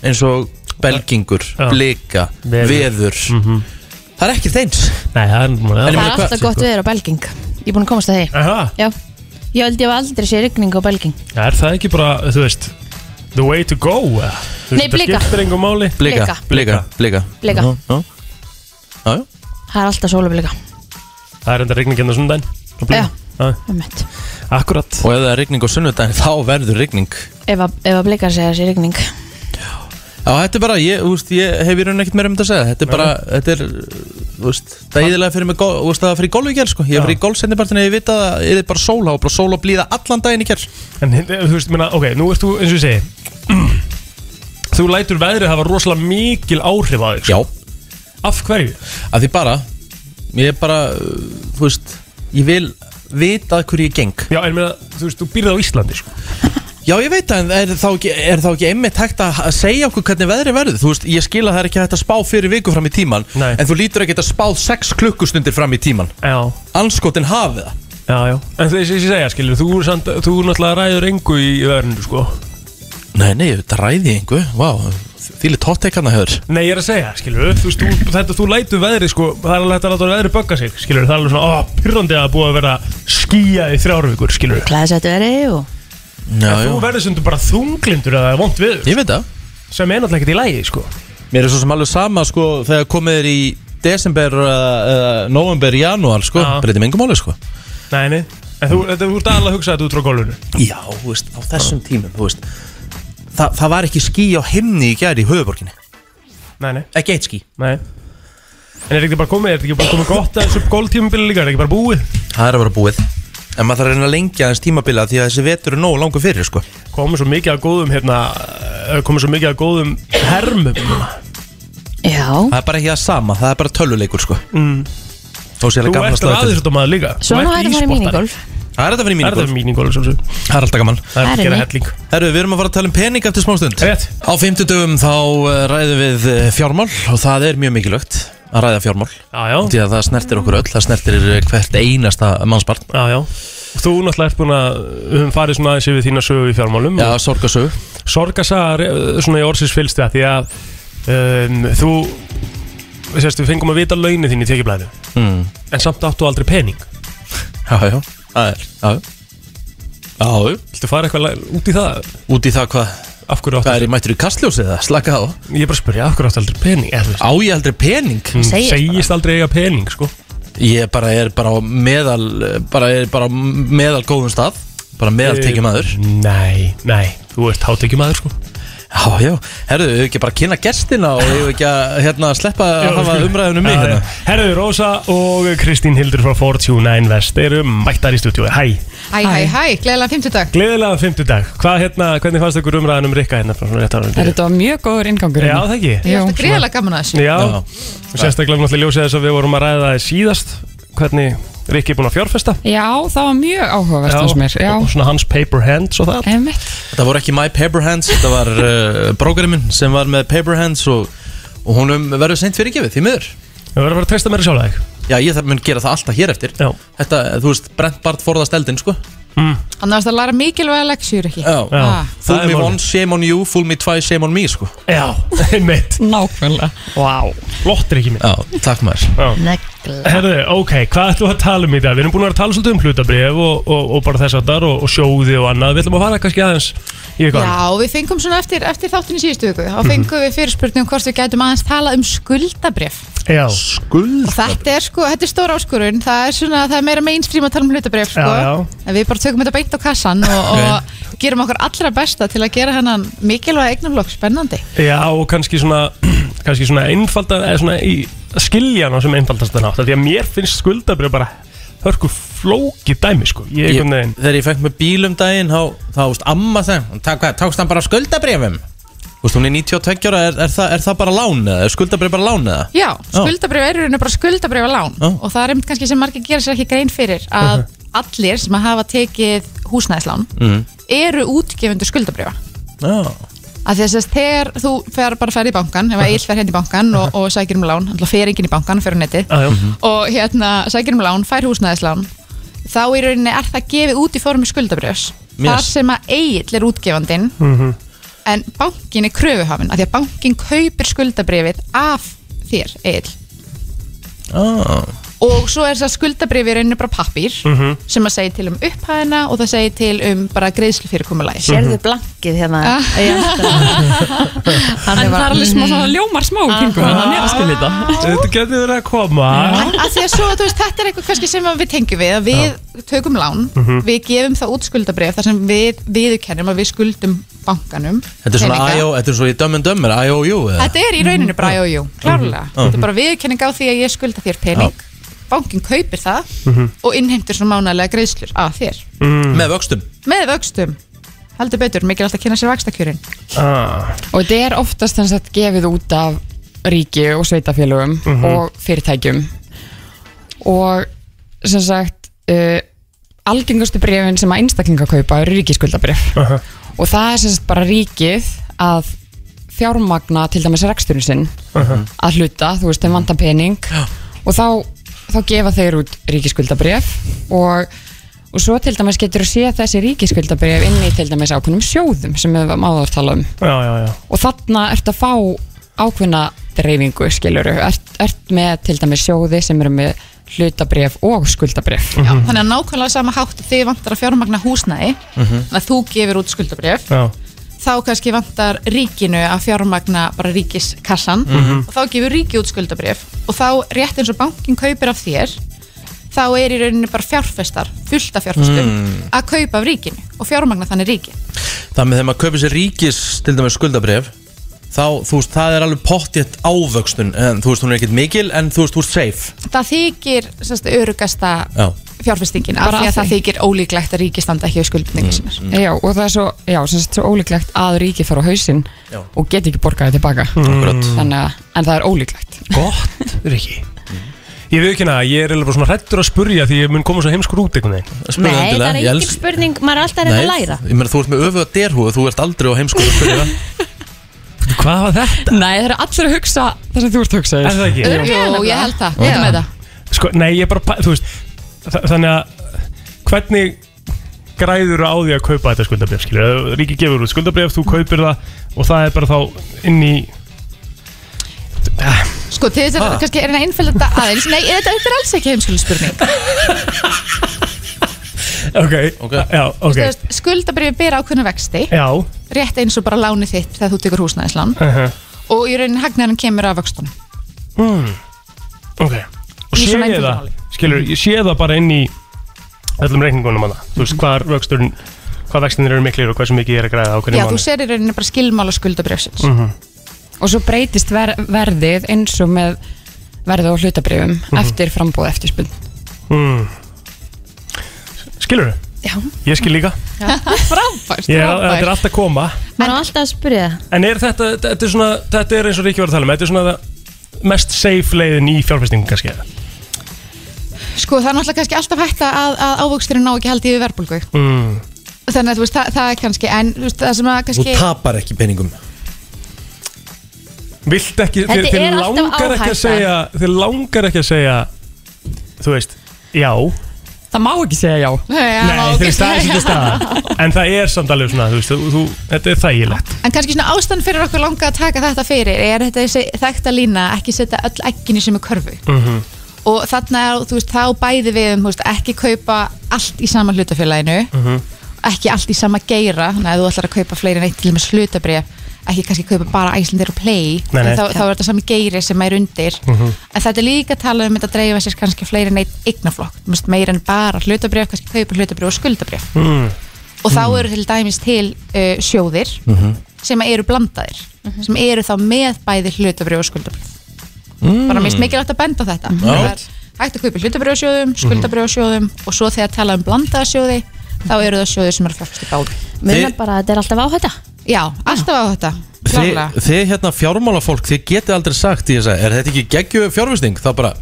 eins og belgingur, Já. blika Veður. Mhm. veður það er ekkert eins Nei, það er núna En ég Það meina, er hvað- alltaf gott veður á Belging Ég er búin að komast að því Aha, Já Ég held ég hef aldrei sé rigning á Belging er það ekki bara, þú veist The way to go eða? Þú veist, Nei, þetta blika. skiptir engum máli blika, Blika. blika, blika Blika. Já, já. Já, já. Það er alltaf sólublika Það er enda regningin á sundaginn Já. Já, Einmitt. Akkurat og ef það er rigning á sunnudagin þá verður rigning Ef að, ef að blikar segja sé rigning já, þetta er bara, ég, þú veist, ég hef í rauninni ekkert meira um þetta að segja þetta er bara, þetta er þú veist, það er íðilega fyrir mig, gol- þú veist, það fyrir golf í gerð sko. ég Já. fyrir í golf sendipartin ég vita að það er bara sól, það var bara sól og blíða allan daginn í gerð En eh, þú veist, menna, ok, nú ert þú eins og ég segi Þú lætur veðrið hafa rosalega mikil áhrif á þig sko. já, Af hverju? að því bara ég er bara, uh, þú veist ég vil vita að hverju ég geng Já, en meina, þú veist, þú býrð á Íslandi sko. Já, ég veit það, en er þá ekki, er þá ekki einmitt hægt að að segja okkur hvernig veðri verður? Þú veist, ég skil að það er ekki hægt að spá fyrir viku fram í tíman Nei. En þú lítur ekki að spá 6 klukkustundir fram í tíman Já, Anskotin hafið það já, já En þess að ég segja, skilur, þú, samt, þú náttúrulega ræður engu í verðinu, sko Nei, nei, þetta ræði einhver, vá, hérna þýli tóttekana höfður Nei, ég er að segja, skilur, þú veist, þú, þetta, þú lætur veðri, sko Það er alveg hægt að láta veðri bögga sig, skilur Það er alveg svona, ó, pyrrandi að búa að vera skýja í þrjárvíkur, skilur Glæðsættu veri og Já, já, Þú verður sem þú bara þunglindur að það er vond við ég veit það Sem er náttúrulega ekkert í lægi, sko Mér er svo sem alveg sama, sko, þegar komið er í desember, uh, uh, november, janúar, sko Já. Breytir mig engum máli, sko Nei, nei, en þú, þetta, þú ert aðalega að hugsa þetta út frá gólfinu Já, þú veist, á þessum tímum, þú veist Þa, Það var ekki skí á himni í gæri í höfuborginni Nei, nei, Ekki eitt skí nei En er ekki bara komið, er þetta ekki bara komið gott að þessu gólftímabili líka, er ekki bara búið Það er að vera búið En maður þarf að reyna að lengja aðeins tímabila Því að þessi vetur er nógu langur fyrir sko. Komið svo mikið að góðum, hérna, eh, komið svo mikið að góðum hermum Já, Það er bara ekki það sama, það er bara töluleikur sko. mm. Þú Þú ert ert aðeins þetta maður líka Þú svona ert er það farið íspottari. mínigolf Það er þetta fyrir Það er mínigolf það mínigolf, svolítið Það er alltaf gaman Það er Það að er gera mitt. helling Herru, við erum að fara að tala um pening eftir smástund Rétt Á fimmtudum þá eh, ræðum við eh, fjármál Og það er mjög mikilvægt að ræða fjármál Já, já, Því að það snertir okkur öll, það snertir eh, hvert einasta mannsbarn já, já Og Þú náttúrulega ert búin að, við höfum farið svona aðeins yfir þína sögu í fjármálum Já, sorgasögu sorgasagar eh, svona í orðsins fylgst því að um, þú sérst, við fengum að vita launin þín í tekjublæðinu mm. en samt áttu aldrei pening Já, já, það er Já, já, já. Viltu fara eitthvað la- út í það? út í það hvað Af hverju áttu Hvað er í mættur í kastljósið það? Slaka á Ég er bara að spyrja, af hverju áttu aldrei pening? Eða, þú veist, Á ég aldrei pening? hún segist bara. segist aldrei eiga pening sko. Ég bara er bara á meðal eh, bara er bara á meðal góðum stað bara meðal tekið maður Nei, nei, þú ert hátekjum maður sko. Já, já, herðu, hefur ekki bara að kynna gestina og hefur ekki að hérna, sleppa að hafa umræðinu mig hérna sko. Herðu, Rósa og Kristín Hildur frá Fortune Invest eru mættar í stúdíu Hæ, Hæ, hæ, hæ, gleðilega 50 dag gleðilega fymtudag Hvað hérna, hvernig fannst ykkur umræðan um Rikka hérna frá svona rétt ára undir? Þetta hérna? var mjög góður inngangur Já, það ekki Ég Já, er alltaf greiðilega gaman að þessu Já, Já. og sérstaklega náttúrulega ljósið þess að við vorum að ræða það síðast hvernig Rikki er búinn að fjárfesta Já, það var mjög áhugavert hans mér Já, og svona hans paper hands og það emitt Það voru ekki my paper hands þetta var uh, brókarinn minn sem var með paper hands og, og honum verður seint fyrir gefið, því miður Við verðum að fara að treysta mér sjálf að þig Já, ég þarf mun gera það alltaf hér eftir Já. Þetta, þú veist, brent bart forðast eldin, sko Annars það læra mikilvæga leksjur ekki Já, Já, Ah. Fool það me er one, málið shame on you, fool me twice, shame on me, sko Já, einmitt Nákvæmlega Vá, flott Rikki minn Já, takk maður Negla Herðu, ok, hvað ætlum við að tala um í dag? Við erum búin að vera að tala svolítið um hlutabrif og, og, og bara þess að þar og, og sjóði og annað Við ætlum að fara kannski aðeins í eitthvað Já, við fengum svona eftir, eftir þáttunni síðustu viku Mhm. þá fengum við fyrirspurningum hvort við gætum aðeins tala um skuldabrif annað. Já, Skuld og þetta er sko, þetta er stór áskorun það er svona, það er meira mainstream að tala um hlutabrif sko. Já, já. en við bara tökum þetta beint á kassan og, og gerum okkur allra besta til að gera hennan mikilvæga eignaflokk spennandi Já, og kannski svona kannski svona einfalda eða svona í skiljan á sem einfaldast það nátt því að mér finnst skuldabrið bara hörku flóki dæmi sko ég Ég- einhvern veginn Þegar ég fekk með bíl um daginn þá, þá veist, amma þeim, hún tak, hvað, tókst hann bara skuldabrifum Þú veist, hún er 92 ára, er, er, það, er það bara lán eða? Er skuldabrif bara lán eða? Já, skuldabrif er í rauninu bara skuldabrif að lán Já. Mhm. og það er einmitt kannski sem margir gera sér ekki grein fyrir að allir sem að hafa tekið húsnæðislán eru útgefundur skuldabrifa Já, að þess að þegar þú fer bara að ferð í bankan ef að Egil fer hérna í bankan og, og sækir um lán alltaf fer enginn í bankan, fer á netið Já, já. og hérna sækir um lán, fær húsnæðislán þá í rauninni er það gefið út í formi skuldabrjöfs Yes. þar sem að Egil er útgefandinn Mhm. en bankin er kröfuhafinn af því að bankin kaupir skuldabrjöfið af þér, Egil já, og svo er það skuldabrjöfið í rauninni bara pappír sem að segja til um upphæðina og það segja til um bara greiðslu Sérðu blankið hérna Ah. í aftan? Hann er En það er bara alveg smá svona ljómar smá kringu Þannig að skilja þetta Þetta getur verið að koma að því að svo, þú veist, þetta er eitthvað kannski sem að við tengjum við, að við tökum lán við gefum það út skuldabref þar sem við viðurkennum að við skuldum bankanum þetta er svona peninga. IO, þetta er svona í Dumb and Dumber, IOU eða? Mm. þetta er í rauninu bara IOU, klárlega þetta er bara viðurkenning á því að ég skulda þér pening bankin kaupir það og innheimtir svo mánalega greiðslur að þér Með vöxtum með vöxtum, heldur betur mikilvægt að kynna sér vakstakjörin ah, Og þetta er oftast þess að gefið út af ríki og sveitafélögum og fyrirtækjum og sem sagt uh, algengustu brefin sem að einstaklinga kaupa eru ríkiskuldabref Aha. og það er sem sagt bara ríkið að fjármagna til dæmis reksturinn sinn Mhm. að hluta, þú veist, þeim vantar pening og þá, þá gefa þeir út ríkiskuldabref og, og svo til dæmis getur þú séð þessi ríkiskuldabref inn í til dæmis ákveðnum sjóðum sem við máður tala um já, já, já. og þarna ertu að fá ákveðna dreifingu skilur ert, ert með til dæmis sjóði sem eru með hlutabref og skuldabref Já, þannig að nákvæmlega sama hátt þið vantar að fjármagna húsnæði Mhm. þannig að þú gefur út skuldabrjöf Já. þá kannski vantar ríkinu að fjármagna bara ríkiskassan Mhm. og þá gefur ríki út skuldabrjöf og þá rétt eins og bankin kaupir af þér þá er í rauninni bara fjárfestar fullta fjárfestum Mm. að kaupa af ríkinu og fjármagna þannig ríki Það með þegar maður kaupir sér ríkis til dæmis skuldabref þá, þú veist, það er alveg pottjett ávöxtun en þú veist, hún er ekkert mikil en þú veist, þú ert safe það þykir sérst, örugasta Já, fjárfestingin af Bara því að af það því. þykir ólíklegt að ríki standa ekki við skuldningu Mm, sínar já, og það er svo, já, sem sagt, svo ólíklegt að ríkið fara á hausinn Já. og get ekki borgaði tilbaka Akkurat. þannig að, en það er ólíklegt Gott, Riki Ég veit ekki hana, ég er alveg bara svona hrettur að spurja því ég mun koma svo heimskur út einhvern veginn Nei, það er engin spurning, maður er alltaf að reyna að læra ég meina, þú ert með öfuga derhúð þú ert aldrei á heimskóla að spyrja Hvað var þetta? Nei, það er allir að hugsa það sem þú ert að hugsa Er það ekki? Jú, ég held það, Já. ég með það Sko, nei, ég bara, pa- þú veist þa- Þannig að hvernig græður á því að kaupa þetta skuldabref skilur, Ríki gefur út skuldabref, þú kaupir það og það er bara þá inn í Sko, til þess að Ha? kannski er einn einfæld þetta aðeins Nei, þetta, þetta er alls ekki heimskuldspurning Ok, okay. já, ok okay. Skuldabrið ber ákveðna vexti Já Rétt eins og bara lánið þitt þegar þú tekur húsnæðislán uh -huh. Og í rauninni hagnaðurinn kemur af vöxtunum mm. Ok Og Í sé svona ég einföldu það, skilur, ég sé það bara inn í öllum reikningunum hana Þú veist, hvar vöxturinn, hvað vextinir eru miklir og hversu mikið ég er að græða á Já, hvernig þú sér í rauninni bara skilmála skuldabrifsins mm -hmm. og svo breytist ver verðið eins og með verðið á hlutabrefum Mhm. eftir frambúð eftir spil mm. Skilur þau? Já. Ég skil líka Frábært, Ég, er- Þetta er allt að koma Maður er alltaf að spyrja það En er þetta, þetta, þetta, er svona, þetta er eins og Ríkki var að tala um Þetta er svona það mest safe leiðin í fjárfestingu kannski eða? Sko, það er náttúrulega kannski alltaf hægt að, að ávöxturinn ná ekki haldið við verðbólgu mm. Þannig að þú veist, það, það er kannski En þú veist, það sem að þú kannski tapar ekki peningum Vilt ekki, Þetta þeir, er þeir alltaf langar ekki áhætta. að segja Þeir langar ekki að segja Þú veist, já Það má ekki segja já Ah, Nei, þeir staðsyndu staða En það er samt alveg svona, þú veist, þú, þú, þetta er þægilegt En kannski svona ástand fyrir okkur langa að taka þetta fyrir er þetta þessi þekta lína að ekki setja öll ekkinni sem er körfu mm -hmm. og þarna er, þú veist, þá bæði við um, þú veist, ekki kaupa allt í sama hlutafélaginu ekki allt í sama geira þannig að þú ætlar að kaupa fleiri en eitt til með hlutabrif ekki kannski kaupa bara Æslandir og Play Nei, nei. en þá, þá er þetta sami geiri sem er undir Mhm. en þetta er líka talað um þetta að dreifa sér kannski fleiri en eitt eignaflokk Þú veist, meira en bara hlutabrif, kannski kaupa hlutabrif og skuldabrif mm. og þá eru til dæmis til uh, sjóðir Mhm. sem eru blandaðir sem eru þá með bæði hlutabrif og skuldabrif Mm. bara mist mikilvægt að benda á þetta Mhm. Það Já. er hægt að kaupa hlutabrifasjóðum, skuldabrifasjóðum og svo þegar tala um blandaða sjóði þá eru það sjóðir sem eru fjárfest í báði Muna Þið- bara að þetta er alltaf áhætta Já, alltaf áhætta Þið, klárlega. þið hérna fjármálafólk, þið getið aldrei sagt í þess að, er þetta ekki geggju fjárfesting? Það bara,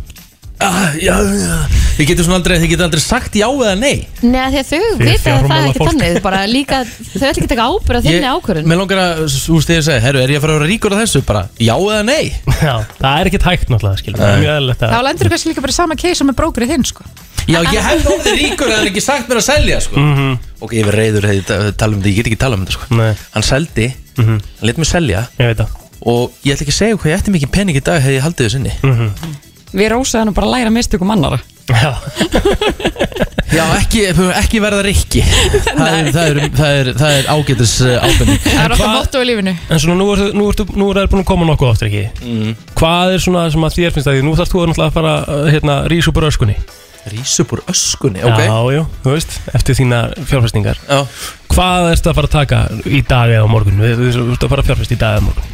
ah, já, já Þið getið svona aldrei, þið getið aldrei sagt já eða nei Nei, af því að þau Þið vita að það er ekki fjármálafólk. þannig bara líka, Þau ætla ekki að taka ábyrgð á þinni ákvörðun Mér langar að, þú veist, ég segi, herru, er ég að fara að vera ríkur á þessu? Bara, já eða nei? Já, það er ekkert hægt náttúrulega, skilur Það er mjög eðlilegt Þá lendur þú kannski líka bara í sama keisa með brókrið þinn sko. Já, ég hef orðið ríkur en það er ekki sagt mér að selja, sko Ok, ég verð reyður hefði ta- tala um þetta, ég get ekki tala um þetta, sko Nei. Hann seldi, hann let mér selja Ég veit það Og ég ætla ekki að segja hvað ég ætti mikið pening í dag hefði ég haldið þess inni mm -hmm. Við rósaðum nú bara að læra mistökum annara Já Já, ekki, ekki verða rikki það, er- það, er- það, er- það er ágætis eh, ábyrning Það er alltaf motto í lífinu En svona nú ertu, nú ertu, nú ertu búin að koma nokkuð aftur ekki Hvað er svona sem að þér finnst að því Nú þarfst þú náttúrulega að fara uh, hérna, rís upp úr öskunni Rís upp úr öskunni, ok. Já, já, þú veist, eftir þína fjárfestingar já. Hvað ertu að fara að taka í dag eða á morgun Þú þú- þú ert að fara að fjárfest í dag eða á morgun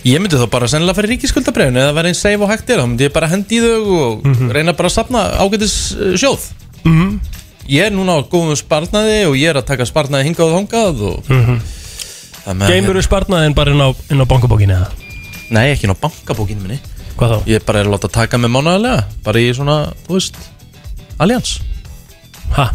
Ég myndi þá bara sennilega fyrir ríkiskuldabræðinu eða vera einn seif og hægt er, þá myndi ég bara hendi í þau og reyna bara að sapna ágætis uh, sjóð mm. Ég er núna á góðum sparnaði og ég er að taka sparnaði hingað og þangað og mm -hmm. Það með- Geimurðu sparnaðinn bara inn á, inn á bankabókinu eða Nei, ekki ná bankabókinu minni Hvað þá? Ég bara er að láta taka mig mánaðarlega, bara í svona, þú veist, allians Ha?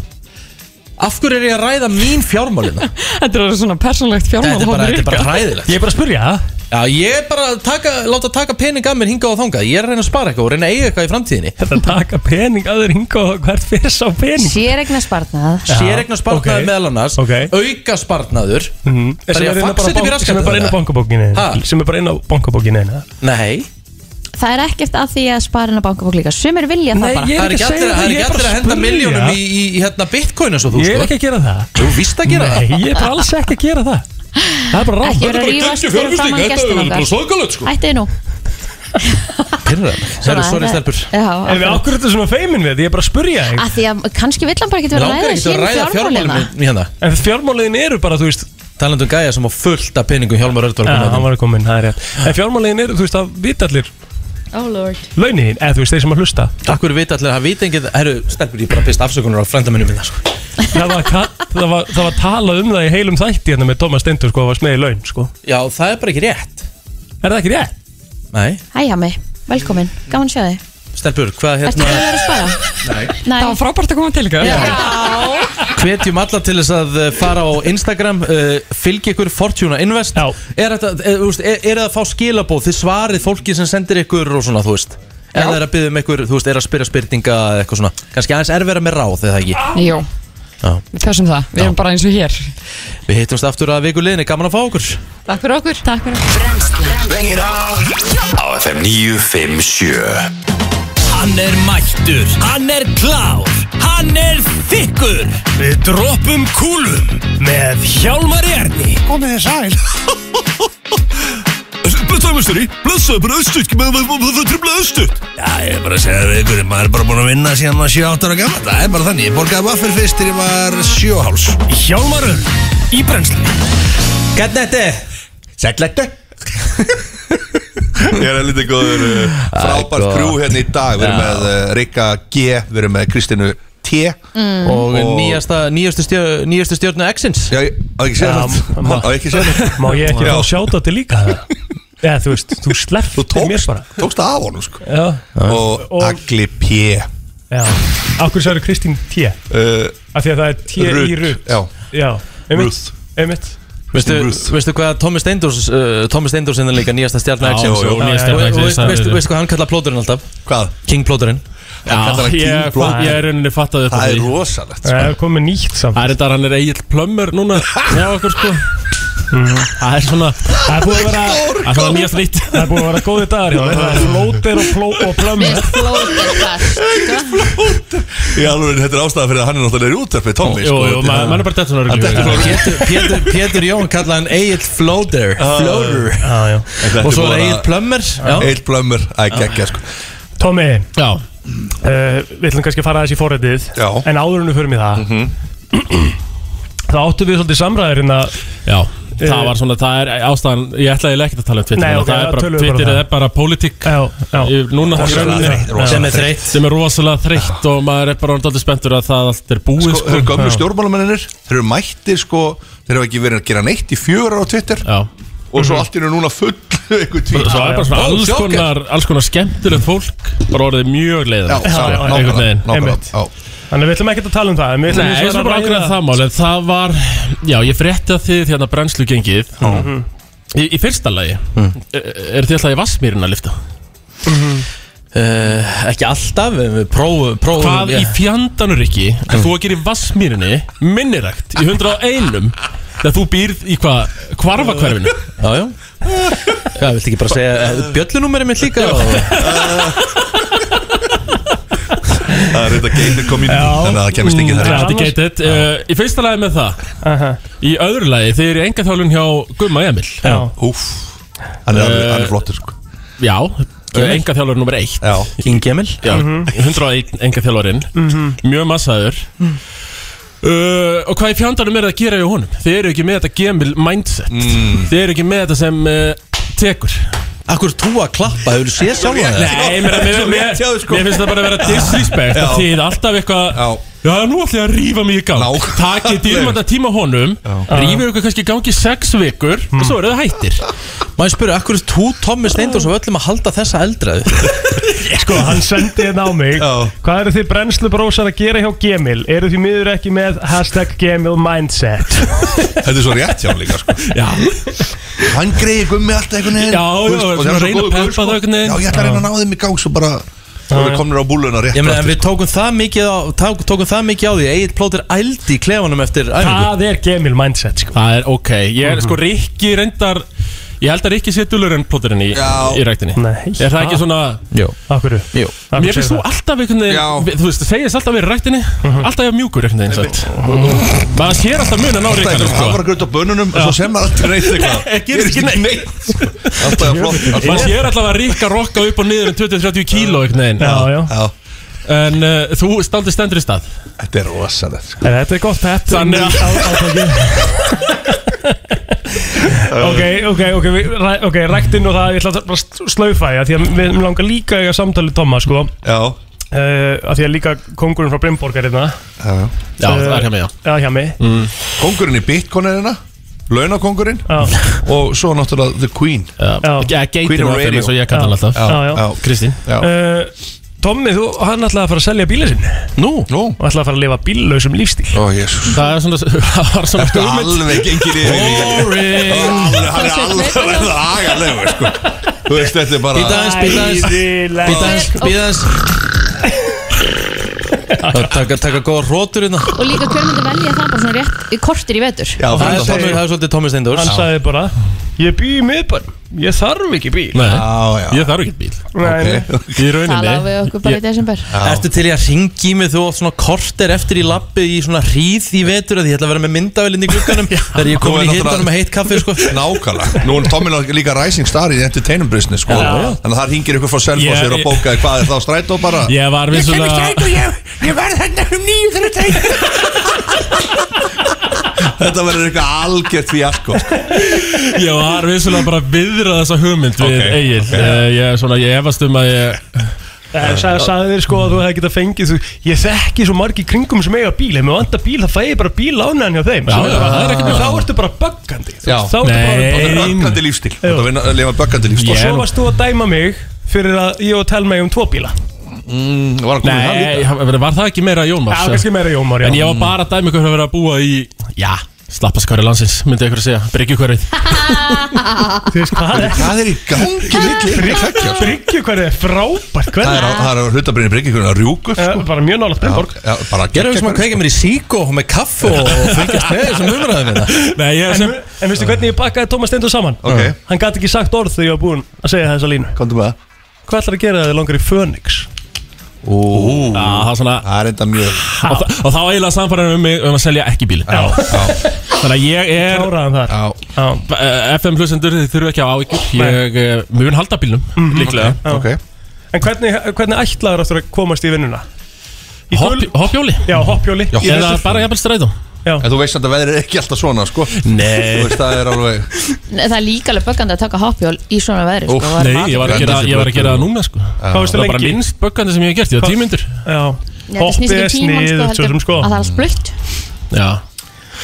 Af hverju er ég að ræða mín fjármálina? Þetta er svona persónlegt fjármál Þetta er bara, þetta er bara hræðilegt Ég er bara að spurja Já, ég er bara að taka, láta taka pening að mér hinga og þangað Ég er að reyna að spara eitthvað og reyna að eiga eitthvað í framtíðinni Þetta taka pening að þér hinga og hvert fyrir sá pening Sér egnar spartnað Séregna spartnaður ok. meðal annars Auka spartnaður Sem Bara ég er inn á faxi Mhm. þetta bara upp í bank- sem raskatið er bara inn á þarna. bankabókinu Ha? sem er bara inn á bankabókinu eina Nei Það er ekkert að því að spara inn á bankabók líka Sumir vilja Nei, það bara ég- Það er er ekki ekki að allir segja það, það er ég ekki er bara allir að henda að spyrja. miljónum í, í, í hérna bitcoin eins og þú Ég er ekki að gera það Þú víst að gera sko. Nei, ég er bara alls ekki að gera það Það er bara rátt Ekki vera að rífast fyrir framann gestina okkar. svakalegt Ættið nú Það Svona, eru sko. sorry það- stelpur Já, En við akkurat. ákveður þetta svona feimin við, ég er bara að spurja þig Af því að kannski vill hann bara ekkert Mér vera að langar ræða ekki að sín ræða fjármálinu fjármálina í hérna En fjármáliðin eru bara, þú veist Talandum gæja sem á fullt af peningum Hjálmar hérna. Örd var Já, að hann koma var að koma inn, það er rétt En fjármáliðin eru, þú veist, að vita allir Oh lord launin þín, eða þú veist, þeir sem að hlusta Takk fyrir vita allir að vita engið Herru, stelpur, ég er bara að pista afsökunar á frændamennu minna sko. það var, kall, það, var, það var talað um það í heilum þætti hérna með Thomas Stendur, sko, að var smeði laun, sko Já, það er bara ekki rétt Er það ekki rétt? Nei, Hæ Hami, velkomin, gaman að sjá þig stelpur, hvað hérna Ertu að vera að spara? Nei Það var frábært að koma til ykkar Hvetjum alla til þess að uh, fara á Instagram uh, Fylgi ykkur Fortuna Invest Já. Er þetta, er, þú veist, er, er það að fá skilabóð Þið svarið fólki sem sendir ykkur og svona, þú veist Ef það er að byggja um ykkur, þú veist, er að spyrja spyrtinga eða eitthvað svona Kannski aðeins erfira með ráð, eða ekki Jú, Já. þessum það, við erum bara eins og hér Við hittumst aftur að viku liðinni, gaman að fá okkur Takk fyrir okkur Takk fyrir Á FM 957 Hann er mættur, hann er klár, hann er þykkur Við droppum kúlum með Hjálmar Erni Komið þið sæl Blöðstæmestari, blöðstæði bara östutt Það trublaði östutt Já, ég er bara að segja það við ykkur Maður er bara búin að vinna síðan maður sé átt ára gammal Það er bara þannig, ég borgaði vaffir fyrst þegar ég var sjóháls Hjálmar Örn, í brennslu Hvernig þetta? Sætlættu Ég er lítið góður uh, frábært Æ, krú gott. hérna í dag Við erum með uh, Rikka G, við erum með Kristinu T hérna Mm. Og, nýjasta, nýjastu, stjö, nýjastu stjórnu X-ins Já, á ekki segja þetta Má á ekki segja þetta Má ég ekki Já. fá sjáta þetta líka? Eða, þú veist, þú sleppti mér bara Tókst það af honum sko Já, Og Agli P já Akkur sagði Kristín T uh, Af því að það er T í Ruth, rutt já. já einmitt, Ruth. einmitt Veistu, veistu hvað Thomas Steindors uh, Thomas Steindors er líka nýjasta stjarnu Já, X-ins jú, og- nýjasta og- stjarna og- X-ins, Veistu það veistu- er- veistu hvað hann kallar plóturinn alltaf? Hvað? King plóturinn kallar hann King ég, Blóð. ég er rauninni fatt að þetta Það er sko. rosalegt Það er komið nýtt samt Það er þetta, hann er eigin plömmur núna Já, okkur sko Mhm. Það er svona Það er búið að vera Það er svona nýjast nýtt Það er búin að vera góði dagar hjá þér. Það er Flóter og, pló, og plömmur Já, alveg, þetta er ástæða fyrir að hann er náttúrulega í útverfi Tommy sko, Jú, jú, maður maður er bara dett svona Hann dettur frá rugli. Pétur- Pétur- Pétur Jón kallaði hann Egil Flóter Ah, Flóter Já, já Og svo er Egil Plömmur já. Egil Blömmur, að geggja sko Tommy Já uh, Við ætlum kannski að fara þessi forrætið Já. En áður en við förum í það Það áttu við svolítið samræðir hérna Já Það var svona, það er ástæðan, ég ætlaði eiginlega ekkert að tala um Eh, Twitter Nei, en ok, Það er bara, tölum við bara Twitter um það. er bara pólitík Já, já Ég- Núna það Rosalega þreytt, rosalega sem er þreytt Sem er rosalega þreytt og maður er bara alltaf spenntur að það allt er búið sko, þeir eru gömlu stjórnmálamennir þeir eru mættir sko, þeir hafa ekki verið að gera neitt í fjögur á Twitter Já. og svo allt eru núna full einhver Svo tvít Mhm. svo er bara svona alls konar, alls konar skemmtilegt fólk bara orðið mjög Já, leiðilegt já, já, Einhvern nákvæmlega, veginn. nákvæmlega, Einmitt. já. Þannig að við ætlum ekkert að tala um það en við ætlum Nei, hins ég vegar sem að bara ákveða ræða- það mál en það var, já ég frétti að þið þérna brennslu gengið í, í fyrsta lagi er, er þið alltaf í vassmýrin að lifta Uh, Ekki alltaf en Við prófum prófum- Hvað já. í fjandanur ekki er þú að gera í vassmýrinni minnirækt í 101 þegar þú býrð í hvað kvarfakverfinu Já, já Hvað, viltu ekki bara segja eh, Bjöllunúmerið mitt líka og... það er þetta gated community þannig að það kemist ekki Mm, þar þetta er gated. Uh, Í fyrsta lagi með það Í öðru lagi, þið eru í engaþjálun hjá Gumma Emil Já. Mm. Úf, Eh, hann er, alveg, hann er flottur sko Já, engaþjálun nummer 1 já, King Gemil Já, 101 engaþjálvarinn Mhm. Mjög massaður Mm. Uh, og hvað í fjandanum er það að gera hjá honum? Þið eru ekki með þetta gemil mindset Þið eru ekki með þetta sem uh, tekur Akkur þú að klappa, hefur þú séð sjálf Nei, mér, mér, mér, mér finnst það bara að vera disrespect að þið alltaf eitthvað sko. Já. Já, nú ætla ég að rífa mig í gang Takið dýrmönda tíma honum Rífið ykkur kannski í gangi í sex vikur Hmm. Og svo eru það hættir Maður spyrur, akkur er þú Tommi Steindors og öllum að halda þessa eldraðu? Sko, hann sendi hérna á mig Hvað eru þið brennslubrósar að gera hjá Gemil? Eru þið miður ekki með hashtag Gemil Mindset? Þetta er svo rétt hjá hann líka sko. Já Hann greiði gummi alltaf einhvern veginn Já, þú veist, já, og það svona er svo reyna góður gaur, að peppa sko. það einhvern veginn. Já, ég ætla að reyna að Já. ná þeim í gang svo bara Svo Já, við já. komnir á búluna rétt Ég meina, en aftur, við sko. tókum það mikið á, tók, tókum það mikið á því Egil plótir ældi í klefanum eftir æfingu Það er Gemil Mindset, sko Það er ok Ég Mhm. er sko Rikki reyndar Ég held að Rikki sé dulurinn plóturinn í, í ræktinni Nei. Er það ekki svona Jó Akkur Jó Mér finnst þú alltaf einhvern veginn Þú veist, það segist alltaf verið í ræktinni Alltaf ég mjúkur einhvern veginn samt. Maður sér alltaf munan á Alltaf Rikkanum einhvern sko. hafragraut á bönunum og Já. svo sem maður alltaf neitt eitthvað Gerist ekki neitt Alltaf er flott Maður sér alltaf að Rikka rokka upp og niður um 20-30 kíló einhvern veginn Já, já. En uh, þú staldi stendur í stað Þetta er rosalegt sko. En þetta er gott pepp Þannig að- Á- átakið. Ok, ok, ok, við- ræ- ok, ræktinn og það, ég ætla að bara st- slaufa því að því að við langar líka að eiga samtalið Tomma, sko Eh, Já Af því að líka kongurinn frá Brimborg er hérna Já, Já, það er hjá mig, já. Já, hjá mig Mm. Kongurinn í Bitcoin er hérna Launakongurinn Og svo náttúrulega The Queen Já, Queen geitin on á þeim radio. eins og ég kalla hann alltaf Já, já. Kristín Já. Eh, Tommi, þú, hann ætlaði að fara að selja bílið sinni Nú? Nú Og ætlaði að fara að lifa bíllausum lífstíl Ó, jésus Það er svona Það var svona Ertu alveg gengin yfir í- Boring Alveg, Hann er alveg að verða agalegu sko. Þú veist, þetta er bara Býta aðeins, býta aðeins Æðilegt. Býta aðeins, býta aðeins Það taka, taka góða rótur hérna Og líka hver myndi velja það bara svona rétt í kortir í vetur Já, það er Tommi- það er svolítið Tommi Steindors Hann sagði bara Ég bý í miðbæn, ég þarf ekki bíl Nei, Já, já. ég þarf ekki bíl Nei, Í Það lág við okkur bara í desember Ertu til í að ringi mig þú oft svona korter eftir í lappi í svona hríð í vetur að ég ætla að vera með myndavélinn í glugganum þegar ég er komin í hitanum með heitt kaffi sko Nákvæmlega Nú er Tommy náttúrulega líka rising star í entertainment business sko. Já, já. Þannig að það hringir ykkur frá Ég- Selfossir og bókaði hvað er það á strætó bara Ég var við svona "Oh, ég, ég verð hérna um nýju þegar þetta Þetta verður eitthvað algjört því sko. Ég var við svona bara viðrað þessa hugmynd Við Ok, Egil ok. Eh, Ég svona, ég efast um að ég Nei, sagði, sagði þér sko að þú hefði getað fengið þú, Ég þekki svo margi kringum sem eiga bíl Ef mér vantar bíl þá fæ ég bara bíl ánaðan hjá þeim Já, Svo já, bara, það er ekkert Þá mál. ertu bara buggandi þú Já. veist, Þá ertu Þetta er bara böggandi lífstíl Þetta verður að lifa böggandi lífstíl Og svo varst þú að dæma mig Fyrir að ég og telma ég um tvo bíla mm, Var að koma í það Nei, líka var það ekki meira Jón Já, Jónmars? kannski meira Jómar já. En Mm. ég var bara að dæmi ykkur að vera að búa í Já, slappaskværi landsins Myndi ykkur að segja, bryggju Þú veist hvað er Hvað er í gangi milli ykkur tveggja, sko? Bryggju hvað er frábært Það Hvernig er á- það er á hlutabrinni bryggjökunni að rjúku Eh, Bara mjög nálaft Brimborg Já, bara Gerðu við sem að geggjað, kveika mér í sík og með kaffi og og fylgjast með þessum umræðum hérna Nei, ég En, sem en veistu hvernig ég bakkaði Tómas Stendur saman? Ok. Hann gæti ekki sagt orð þegar ég var búinn að segja þessa línu Komdu með það Hvað ætlar að gera þegar þið langar í Fönix? Ú, Já, það er svona Það er enda mjög Og, þa og þá eiginlega samfæraðum um mig um að selja ekki bíl Já, já, Þannig að ég er Kláraðan þar já Já, Eh, FM hlustendur þið þurfu ekki á áhyggjur Nei. Ég eh, mun halda bílnum líklega Ok En hvernig, hvernig ætlaður aftur að komast í vinnuna? Í Hopp- gul- Hoppjóli Já, hoppjóli Já, Í Eða vetur. bara jafnvel strætó En þú veist að þetta veðrið er ekki alltaf svona, sko Nei. Þú veist, það er alveg Nei, Það er líka alveg böggandi að taka hoppjól í svona veðri Úff, sko, var Nei, mat- ég var að Brenda gera, sér ég var að brautina. gera það núna sko Hvað veistu Það var bara lengi? minnst böggandi sem ég hef gert Ég var Hvað- tímyndur Já Nei, þetta snýst Hoppið ekki er um tímann, sniðugt sko, svo sem sko heldur- Að það er splutt Já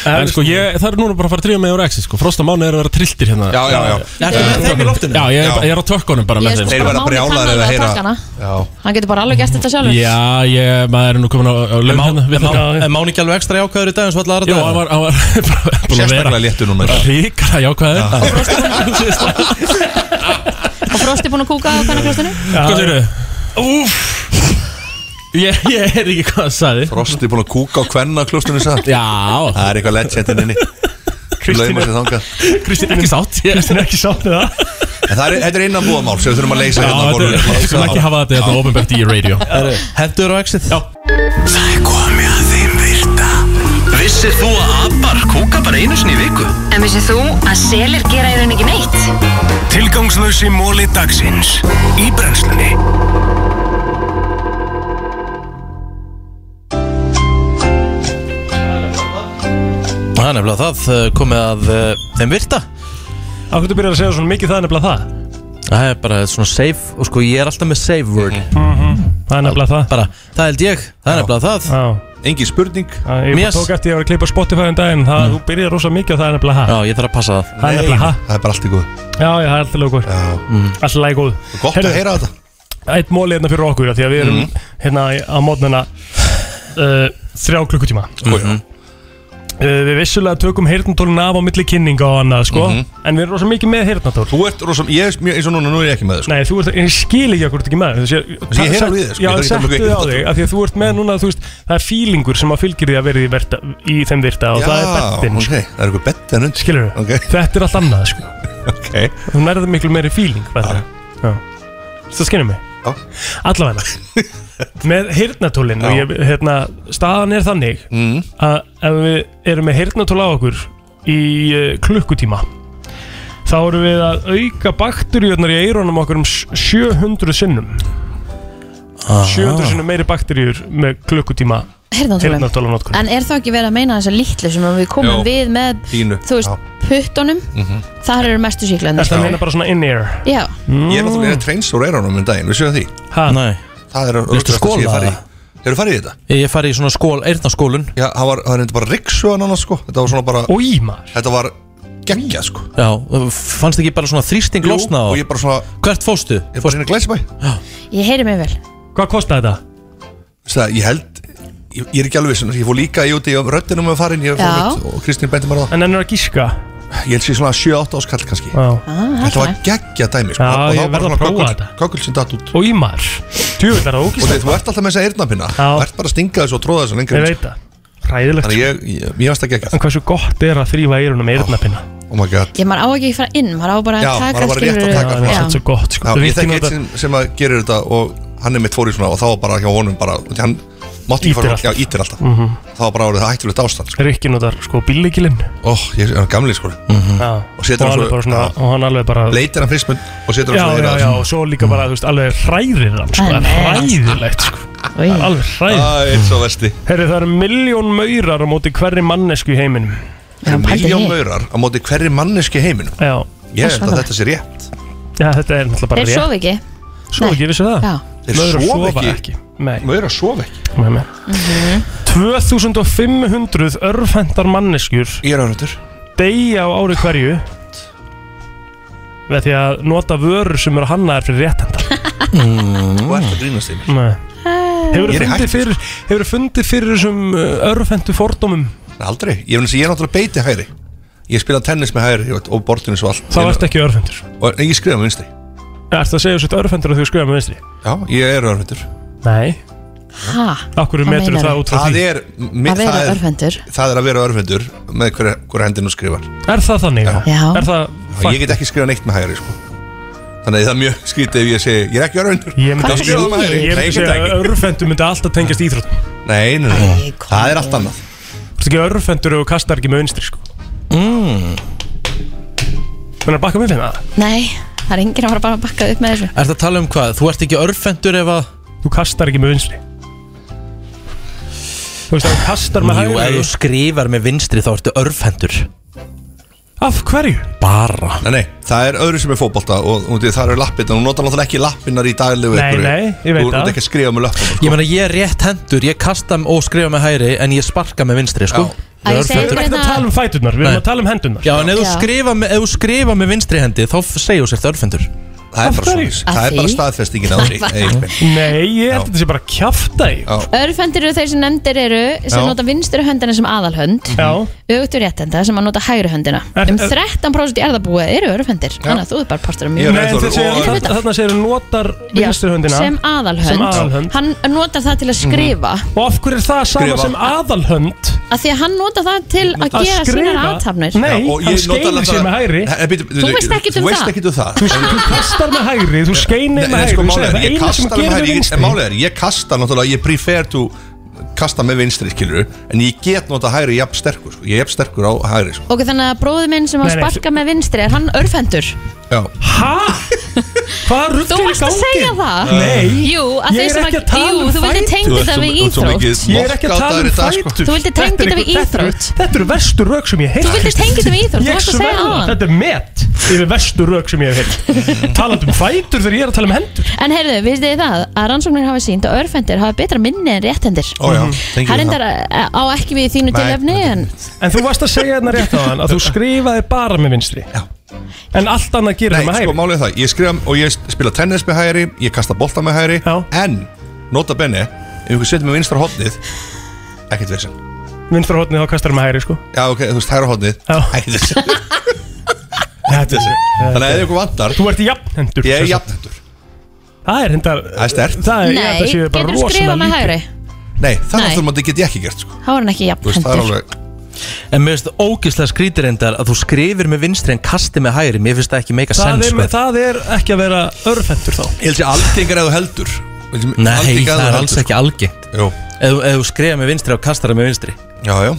En veist- sko, ég, það er núna bara að fara að trífa með úr exi sko Frosta mánu er að vera trilltir hérna Já, já, já Ertu með þeim í loftinu? Já, ég, Já. er- ég er á tökkunum bara Ég með er þeim Þeir sko bara verða máni brjálaðir kannan að að heyra- taka hana Já Hann getur bara alveg gert þetta sjálfur Já, ég, maður er nú komin á, á lög hérna við Má- þetta. En má ekki alveg ekstra jákvæður í dag eins og allar Jó, aðra dag hann var, hann var búin að Sérstaklega vera léttu núna Ríkara jákvæður Og Frosti búin að kúka á kannaklostinu Hvað segir þau? Úf Ég ég heyrði ekki hvað það sagði Frosti búin að kúka á hvenna klústunni satt Já, Það er eitthvað legendin inni Kristín Lauma er- sér þangað Kristín er ekki sátt ég- Kristín er ekki sátt með það En það er, þetta er innan búamál sem við þurfum að leysa Já, hérna á þetta er- borðinu. Við skulum ekki hafa þetta hérna ofinbært í radio Hendur á exit Já Það er komið að þeim virta Vissir þú að abar kúka bara einu sinni í viku? En vissið þú að selir gera í raun ekki neitt? Tilgangslösi móli dagsins Í brennslunni Það er nefnilega það eh, komið að eh, þeim virta Af hvernig byrjar að segja svona mikið það er nefnilega það Það er bara svona save og sko ég er alltaf með save word Það er nefnilega það Bara það held ég, það er nefnilega það Já engin spurning Æ, Ég bara tók eftir ég var að klippa Spotify um daginn það, Mm. Þú byrjar rosa mikið og það er nefnilega ha Já, ég þarf að passa það Það er Nei, nefnilega ha það er bara allt í góð Já, já, það er alltaf lögur mm. Alltaf læg góð Gott að heyra þetta Eitt móli hérna fyrir okkur af Því að við erum Mm. hérna í- á mótnana uh, Þrjá klukkutíma Mm-hmm. Oh, uh, Við vissulega tökum heyrnatólin af á milli kynninga og annað sko Mhm. En við erum rosa mikið með heyrnatól Þú ert rosa, ég er mjög- eins og núna, nú er ég ekki með sko. Nei, þú ert, ég skil ekki akkur ekki með Þessi, Þessi, ég heyri alveg í þér, sko, Já, ég þarf ekki að settu plugga þið á í þig þetta. af Því að þú ert með núna, þú veist Það er fílingur sem að fylgir því að verði í, verta, í þeim virta Og Já, það er sko. bettin ok, það er eitthvað bettin undir Skilur við, þetta er allt annað sko. okay. Þú nærður miklu meiri fíling Það skinnum mig Allavega Með hirtnatólin og Já. ég, hérna, Staðan er þannig Mm. Að ef við erum með hirtnatól á okkur Í uh, klukkutíma Þá erum við að auka bakteríurnar í eirónum okkur um sj- 700 sinnum Ah. 700 sinnum meiri bakteríur með klukkutíma Heyrnartólum. heyrnartólanotkun. En er þá ekki verið að meina þessa litlu sem við komum Jú. við með, Þínu. þú veist, Já. puttunum Mhm. Þar eru mestu síklarnir Þetta meina bara svona in-ear Já, Ég er náttúrulega treyns úr eirónum um daginn, við séum því ha? Nei Það er Viltu skóla það? það? Hefur farið í þetta? Ég fari í svona skól, eyrnaskólun Já, það var, það var reyndi bara riksugan annars sko Þetta var svona bara Í maður Þetta var geggja sko Já, fannst ekki bara svona þrýsting Jú, losna og ég bara svona Hvert fóstu? Ég bara sinni glæsbæ ég heyri mig vel Hvað kostaði þetta? Það, ég held Ég, ég er ekki alveg vissin Ég fór líka í úti á röddinum með farin Ég fór Já. mitt og Kristín benti mér á það En hann er að gíska Ég held sér svona 7-8 áskall kannski Já Þetta var geggja dæmi sko Já, Og það ég var verð bara að svona prófa kökkull- þetta. Kökkull sem datt út Og í maður Tjöfull er það Og ógíslega þið- þú ert alltaf með þessa eyrnapinna Þú ert bara að stinga þessu og tróða þessu lengur Ég veit það. Ræðilegt Þannig ég, ég, ég varst að gegja En hversu gott er að þrýfa eyrunum með eyrnapinna Oh my god Ég maður á ekki að fara inn, maður á bara að Já, taka maður var rétt að skilurðu- taka Já. svona svo gott sko. Já, Þú ég veist, ég þekki eitt nota- sem, sem að gerir þetta og hann er mitt fór í svona og þá var bara hjá honum bara, því hann mátti ekki Ýtir fara, allt. já, ítir alltaf Mhm. þá var bara orðið það hættulegt ástand sko. Rikki notar sko bíllíkilinn Ó, ég er hann gamli sko Já, og setur og hann alveg svo, bara svona- og hann alveg bara leitir hann frismun og setur Já, hann já, svona já, og svo líka bara, þú veist, alveg hræðir hann, sko, Nei, það er nei. hræðilegt, sko, Það er alveg hræðilegt. Það er svo vesti Herri, það eru miljón maurar á móti hverri mannesku í heiminum. Miljón maurar á móti hverri manneski heiminum Já. Ég held að þetta sé rétt Já, þetta er náttúrulega bara Þeir sofa ekki Sofa Nei. ekki, vissu það? Já. Þeir Maurar sofa sofa ekki. ekki. Nei. Maurar sofa ekki. Nei, nei. Mhm. 2500 örfendar manneskjur Ég er örfendur Deyja á ári hverju Með því að nota vörur sem eru hannaðar fyrir réttendar Þú ert að grínast í mér Nei Hefur Ég er í hættu. fundið fyrir Hefur fundið fyrir þessum uh, örfendu fordómum Nei, Aldrei, ég, finnst- ég er náttúrulega beiti hægri Ég spila tennis með hægri og- og bortinu svo allt Þá ertu ekki örfendur Og ég skrifa með vinstri Ertu að segja þessu örfendur að þú skrifa með vinstri Já, ég er örfendur Nei Ha? Akkur Hvað metur meinarðu? það út frá Það því er, mi- Að vera það er- örfendur. Það er að vera örfendur með hverja hver hendinu skrifar Er það þannig? Já. Er það Ég get ekki skrifað neitt með hægri sko. Þannig að það er mjög skrítið ef ég segi Ég er ekki örfendur Ég myndi Þá skrifa það með hægri. Ég Nei, myndi ég get segja það að ekki örfendur myndi alltaf tengjast íþróttum Nei, nei, nei, það er allt annað Þú ert ekki örfendur og kastar ekki með vinstri sko mm. Þannig að bakka með finna það Nei, það er enginn að fara bara að bakka upp með þessu Er það að tala um hvað? Þú ert ekki örfendur ef að Þú kastar ekki með vinstri Þú veist að þú kastar með Jú, ef hægri þú skrifar með vinstri þá ertu örfendur Af hverju? Bara Nei, nei, það er öðru sem er fótbolta og og því það eru lappirna Þú notar náttúrulega ekki lappirnar í daglegu Nei, einhverju. nei, ég veit Þú það. ert ekki að skrifa með löppum Ég meina ég er rétt hendur, ég kasta m- og skrifa með hægri en ég sparka með vinstri, sko Að ég segi Við erum ykkur ekki að hérna- tala um fæturnar, við erum Nei. að tala um hendunar Já, en ef þú Já. skrifa með, ef þú skrifa með vinstri hendi þá f- segir þú sért örfendur Það er bara hverju? svoleiðis. Það er bara staðfestingin á því Egil. Nei, ég held að þetta sé bara kjafta í Örfendur eru þeir sem nefndir eru sem Já. nota vinstri höndina sem aðalhönd Já. Ögtur réttenda sem að nota hægri höndina Er- Um er- 13% í erðabúi eru örfendur Þannig að þú er bara partur af Nei, mjög þetta segir- þarna- þarna segir hún notar Já, vinstri höndina sem Sem aðalhönd aðalhönd Mhm. Hann notar það til að skrifa Og af hverju er það sama Skrifa. sem aðalhönd? Af því að hann notar það til að Að gera sínar skrifa? aðtafnir Nei, Já, hann og ég nota skeiðir alveg sér það- með hægri Nei, bíddu, bíddu, Þú veist ekkert um Þú veist það. ekkert um það Þú þú kastar með hægri, þú skeinir með Nei, hægri sko, þú málið segir Það er, ég eina sem kasta þú með gerir við hægri En málið vinstri er, ég kasta náttúrulega, ég prefer to kasta með vinstri, skilur En ég get nota hægri jafn sterkur, sko Ég er jafn sterkur á hægri, sko Ok, þannig að bróður minn sem að Nei, nei, sparka með vinstri er hann örfendur Já, Hæ? Hvað Þú varst að segja það? Nei. Jú, að Ég þeir er sem ekki að tala Jú, um þú vildi fætur. tengja Þú ert þetta svo- við þú ert íþrótt svo mikið Ég er ekki að tala um í dag, sko. fætur Þú vildir tengja þetta við íþrótt. Þetta eru verstu rauk sem ég hef Þú vildir tengja þetta við íþrótt, þú Ég varst að segja sverða, áðan. Þetta er met yfir verstu rauk sem ég hef heyrt Talandi um fætur þegar ég er að tala um hendur En heyrðu, veistu þið það að rannsóknir hafa sínt að örfendir hafa betra minni en réttendir Ó, já, Það tengjum við reyndar eh, á ekki við þínu Nei, tilöfni en En þú varst að segja hérna rétt á hann að þú skrifaði bara með vinstri Já En allt annað gerir Nei, það með hægri sko málið er það, ég skrifa og ég spila tennis með hægri, ég kasta bolta með hægri Já. En, nota benni, ef einhver setur með vinstra hotnið Ekkert veginn Vinstra hotnið þá kastar með hægri sko Já, ok, þú veist, hægra hotnið Ekkert veginn Þetta er Þannig að ef einhver vantar Eh, Þú ert jafnhendur Ég er sem sagt. jafnhendur Það er hérna Það er stert Það er, ég Nei, held að séu bara getur skrifað rosalega með lítið. hægri Nei, það Nei. náttúrulega get ég ekki gert sko Þá er hann ekki Þú veist, það er jafnhendur alveg En mér finnst ógislega skrítir endar að þú skrifir með vinstri en kastir með hægri Mér finnst það ekki meika það sens sko. er, það er ekki að vera örfendur þá Ég held sér algengar eða heldur Nei, það Algengar ef er þú alls heldur, sko. ekki algengt Jú. Ef ef þú skrifir með vinstri og kastar það með vinstri Já, já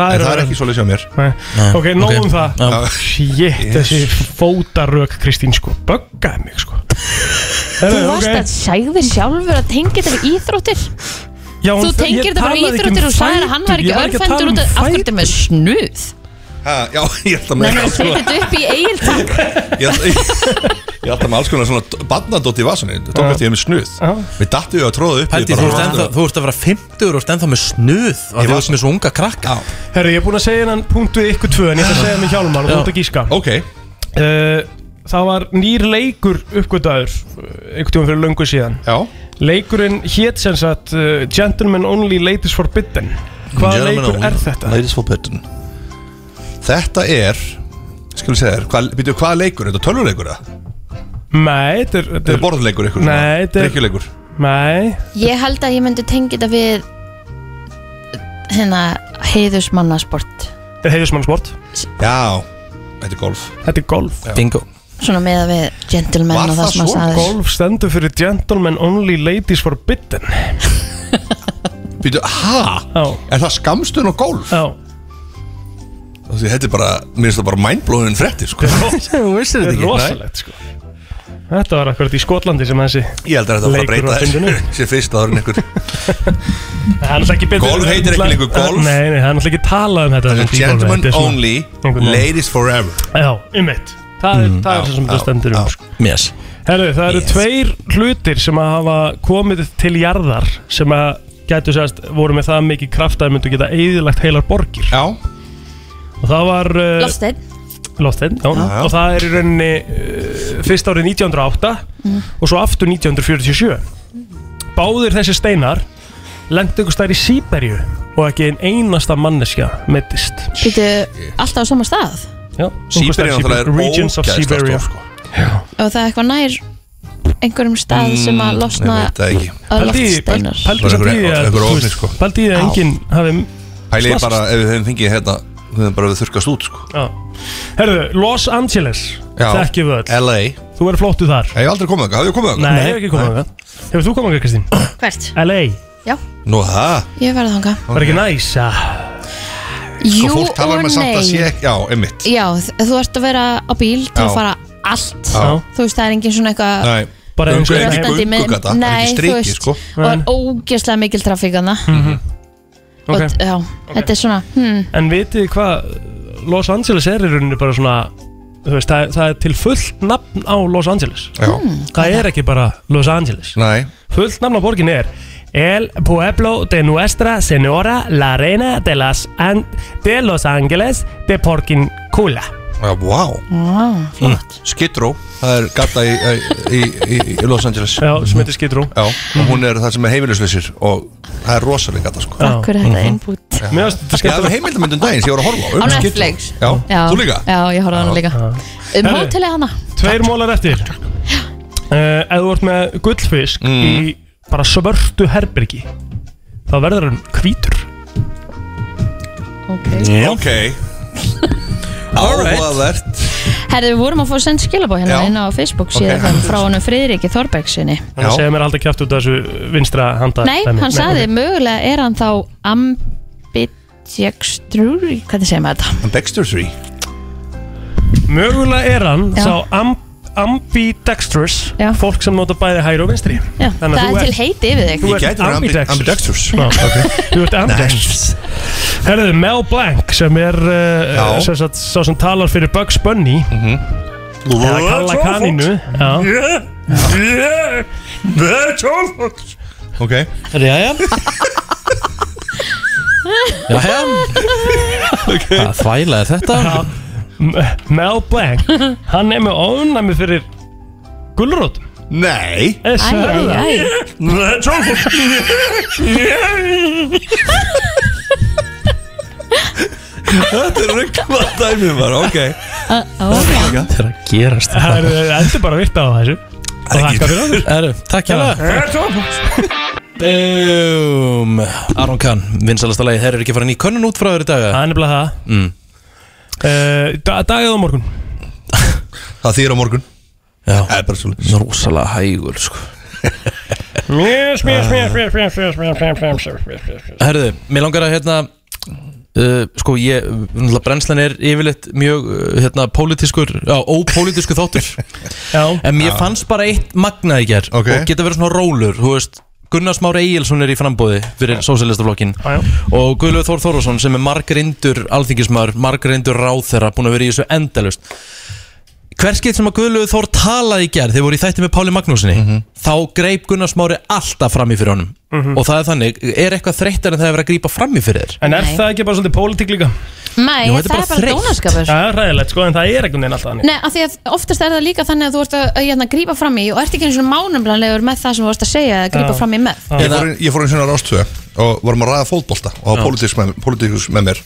Það er En það er örfendur. ekki svolítið sem mér Nei. Ok, nóg um það Já. Shit, þessi fótarök Kristín sko Böggaði mig sko Þú Herðu, varst Eh, ok. að segja þér sjálfur að tengja þetta við íþróttir Já, en Þú það- tengir ég þetta bara talaði við ekki um íþróttir og sagðir að hann fætur, var ekki ég var ekki að tala örfendur um út af af hverju þetta er með snuð Ha, Já, ég held að Nei, með nei, sko. þetta upp í eigin takk Ég held- ég- ég held að með alls konar svona Barnadótt í vasunni, þetta tók eftir ég með snuð Við dattu ég að tróða upp í Pældi, bara- þú ert ennþá- þú ert að vera 50 og þú ert ennþá með snuð af því Þú ert með svo unga krakka Herru, ég er búinn að segja hennan punkt við ykkur tvö En ég ætla að segja hennan hjálmar og þú ert að gíska Eh, okay. Það var nýr leikur uppgötaður uh, Einhvern tíma fyrir löngu síðan Já. Leikurinn hét sem sagt uh, Gentlemen Only Ladies Forbidden Hvaða Gentlemen leikur only. er þetta? Ladies Forbidden Þetta er Skal við segja þér, hvað, byrju, hvað leikur? er Þetta tölvuleikur það? Nei, þetta er Þetta er borðleikur ykkur Nei, þetta er- Drikkjuleikur Nei Ég held að ég myndi tengja þetta við hérna heiðusmannasport Þetta er heiðismannsport Já, þetta er golf Þetta er golf Bingo svona með að við gentlemen Var og það það sem að svo? sagði Golf stendur fyrir Gentlemen Only Ladies Forbidden Býtu, ha? Já. Er það skamstun og golf? Já Því þetta er bara, mér finnst það bara mindblowin frettir sko Þú vissir þetta ekki. Rosalegt sko Þetta var akkurat í Skotlandi sem þessi Ég held að þetta var að breyta þessu Sér fyrst áður en ykkur þessu Golf heitir ekki lengur golf. Nei, nei, það er náttúrulega ekki talað um þetta Þetta í er golfi, Gentlemen þetta er svona- only, einhvern veginn. ladies forever Já, ymmit Það er Mm. það er Já, það sem þetta já, stendur um sko. Yes Herru, það eru tveir hlutir sem að hafa komið til jarðar sem að gætu sérst voru með það mikið kraft að myndu geta eðilagt heilar borgir Já Og það var uh, Lofsteinn Lofstein, já, Já. og það er í rauninni uh, fyrst árið 1908 og svo aftur 1947 Báðir þessi steinar lendu ykkur stær í Sýberju og ekki ein einasta manneskja meittist Býtu alltaf á sama stað Já, einhvers staðar í Sýbería náttúrulega er Regions of ógeðslega Siberia. stór, sko. og það er eitthvað nær einhverjum stað Mm, sem að losna Pældi í- öðlasteinar Pældi samt sko. í því að þú Einhver ofni, veist, sko. Pældi í því að enginn hafi Pæli ég slasast. bara ef við höfum fengið hérna Við höfum bara þurrkast út sko Já. Herðu, Los Angeles Já. Þekkjum við öll LA Þú verður flottu þar Ég hef aldrei komið þangað, hafði ég komið þangað? Nei, ég hef ekki komið þangað Hefur þú komið þangað, Kristín? Hvert? LA Já, Nú það ég verði þanga Var ekki næs að Jú Sko fólk talar og með samt að sé nei ekki Já, einmitt Já, þ- þú ert að vera á bíl til Já. að fara allt Já. Þú veist, það er engin svona eitthvað Nei Bara eins og Röltandi ekki með- gungugata Það er Nei, ekki þú strikið veist sko Og er ógeðslega mikil trafík hana Og Ok. já, þetta er svona hmm, En vitið þið hvað Los Angeles er í rauninni bara svona Þú veist, það, það er til fullt nafn á Los Angeles Já. Hmm. Það er ekki bara Los Angeles Nei Fullt nafn á borgin er El Pueblo de Nuestra Senora La Reina de, las An de Los Angeles de Porkin Kula Já, wow wow. Skidró, það er gata í, í, í, í Los Angeles Já, Hmm. sem heitir Skidró Já, og hún er það sem er heimilislausir og það er rosalega gata sko Takk fyrir "Hm, þetta innbútt Já. Mér finnst þetta Já, það skemmtilegt. var heimildamöndum daginn sem ég voru að horfa Á um Skidró. Netflix Já, þú líka? Já, ég horfði á hana Já. líka Um Herri. hótelið hana Tveir mólar eftir uh, Ef þú ert með gullfisk í Mm. bara svörtu herbergi þá verður hann hvítur Já. Ok Alright. Áhugavert Herði, við vorum að fá að senda skilabóð hérna Já. inn á Facebook Ok. síðan frá honum Friðriki Þorbergsinni Hann er að segja mér aldrei kjátt út af þessu vinstra handa Nei, dæmi. hann sagði, mögulega er hann þá ambidjextrúri Hvernig segir maður þetta? Dexter 3 Mögulega er hann Já. sá amb ambidextrous Fólk sem nota bæði hægri og vinstri Já, það Þannig að þú er ert- til heiti yfir þig Þú ert ambidextrous Já, ok. Þú ert ambidextrous Herðu, Mel Blanc sem er uh, Já. sem sagt, sá sem talar fyrir Bugs Bunny eða Kalla Kaninu Já. Yeah, that's all folks Ok Jæja Jæja okay. Það þvæla er þetta Já. M- Mel Blanc Hann er með ónæmi fyrir Eh, gulrótum Nei æ. That's all folks Þetta er ruggla dæmið bara, ok Það er að gerast Það er endur bara að virta á þessu Og þakka fyrir okkur Herru, takk hérna Bum Aron Kahn, vinsalasta lagi Þeir eru ekki farin í könnun út frá þér í dag Það er nefnilega það mm. uh, Dagið á morgun Það þýr á morgun Já Það er bara svo Rósalega hægur sko Mjög, mjög, mjög, mjög, mjög, mjög, mjög, mjög, mjög, mjög, mjög Herðu, mér langar að hérna Uh, sko ég, náttúrulega brennslan er yfirleitt mjög uh, hérna pólitískur, já, ópólitískur þáttur já. en mér Já. fannst bara eitt magnað í ger Ok. og geta verið svona rólur, þú veist Gunnar Már Egilsson er í frambóði fyrir sósélistaflokkin og Guðlöf Þór Þórðarsson sem er margrindur alþingismar, margrindur ráðherra búin að vera í þessu endalust Hverskið sem að Guðlöf Þór talaði í gerð, þeir voru í þætti með Páli Magnúsinni Mhm. þá greip Gunnar Smári alltaf fram í fyrir honum Mhm. og það er þannig, er eitthvað þreyttar en það er verið að grípa fram í fyrir þér En er það ekki bara svolítið pólitík líka? Nei, það er bara dónaskapur Það er ræðilegt sko, en það er einhvern veginn alltaf þannig Nei, af því að oftast er það líka þannig að þú ert að, að hérna, grípa fram í og ert ekki eins og mánumlanlegur með það sem þú ert að segja að grípa fram í með Ég fór, inn- ég fór eins og hérna rástöðu og vorum að ræða fótbolta og Já. politíkus með, politíkus með mér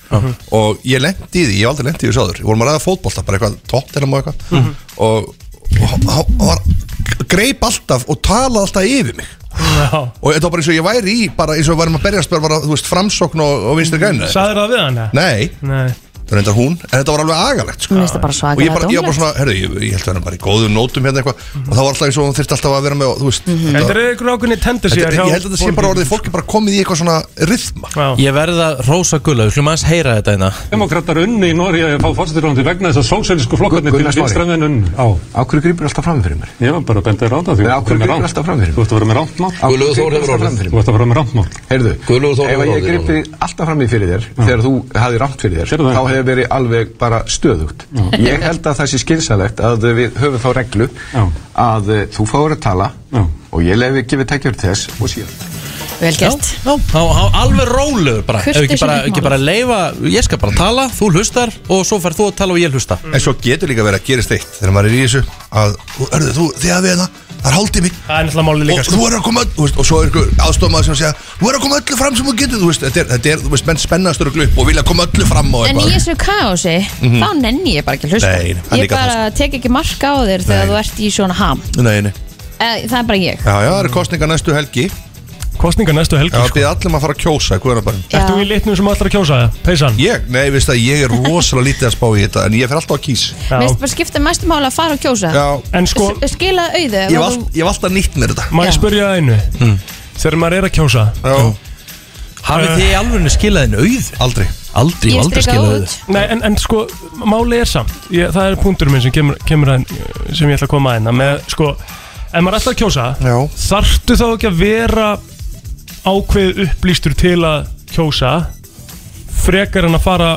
og ég lendi í því, ég hef aldrei lendi í þessu áður við vorum að ræða fótbolta, bara eitthvað tótt og eitthvað Mhm. og, og hann- hann var, greip alltaf og talaði alltaf yfir mig Já. og þetta var bara eins og ég væri í bara eins og við værum að berjast bara, bara þú veist, framsókn og, og vinstri grænu Sæður það við hann? eða? Nei, Nei. það er enda hún en þetta var alveg agalegt sko. Mér finnst það bara og ég svakalega bara, ég var bara dónalegt. svona, herru, ég, ég held að hann er bara í góðum nótum hérna eitthvað og það var alltaf eins og hún þurfti alltaf að vera með og, þú veist, Þetta er einhver ákveðni tendur Þetta er- ég held að þetta sé bara orðið, fólk er bara komið í eitthvað svona rithma Ég verði að rósa Guðlöf, hljóma aðeins heyra þetta hérna Demokrater unni í Nóri að fá fórsetirlandi vegna þess að sósælísku flokkarnir Gunnar til Smári. vinstramenn á. Á hverju grýpur alltaf fram fyrir mér? Ég var bara að benda þér á það. Nei, af hverju grípur alltaf fram mér? fyrir Þú ert að vera með rámt mál. Guðlaugur Þór hefur orðið. Þú ert að vera með rámt mál. Heyrðu, Guðlaugur Þór ef hefur að ég orðið gripi alltaf fram í fyrir þér þegar þú hafði rámt fyrir þér, Sérðu það? þá hefur verið alveg bara stöðugt. Já. Ég held að það sé skynsalegt að við höfum þá reglu að eh, þú fáur að tala og ég lefi gefið tekjur þess og síðan. Vel gert Já, já, já, alveg rólegur bara Ef Kurteisi ekki bara, mitt ekki mál. bara leifa, ég skal bara tala, þú hlustar og svo fær þú að tala og ég hlusta En svo getur líka verið að gerist eitt þegar maður er í þessu að, þú- hörðu, þú, þið að við hérna, það er hálftími Það er náttúrulega sko. máli líka Og þú er að koma, öll- þú veist, og svo er ykkur aðstofmaður sem segja Þú er að koma öllu fram sem þú getur, þú veist, þetta er, þetta er, þú veist, menn spennastur og glupp og vilja koma öllu fram og En í eitthvað þessu kaosi, Mhm. þá nenni ég bara ekki að hlusta Nei, það er Ég líka það, sko. bara tek ekki mark á þér þegar Nei. þú ert í svona ham Nei, nei, Eh, Það er bara ég já, já, það eru kostningar næstu helgi Kostningar næstu helgi, Já, býð allir maður að fara að kjósa, hvað er bara Ert þú í litnum sem allar að kjósa það? Peysan? Ég, nei, veist að ég er rosalega lítið að spá í þetta En ég fer alltaf að kýs Mér finnst bara skipta mestu mála að fara og kjósa Já. En sko- S- Skila auðu Ég hef all- ég hef alltaf nýtt mér þetta Má ég spyrja það einu? Hmm. Þegar maður er að kjósa Hafið þið í alveg skilað henni auð? Aldrei Aldrei, ég hef aldrei skilað auð Nei, en, en sko, máli er samt ég, Það er punktur minn sem kemur, kemur að, sem ég ætla að koma að hérna með, sko, ef maður er alltaf að kjósa Já. þarftu þá ekki að vera ákveð upplýstur til að kjósa frekar en að fara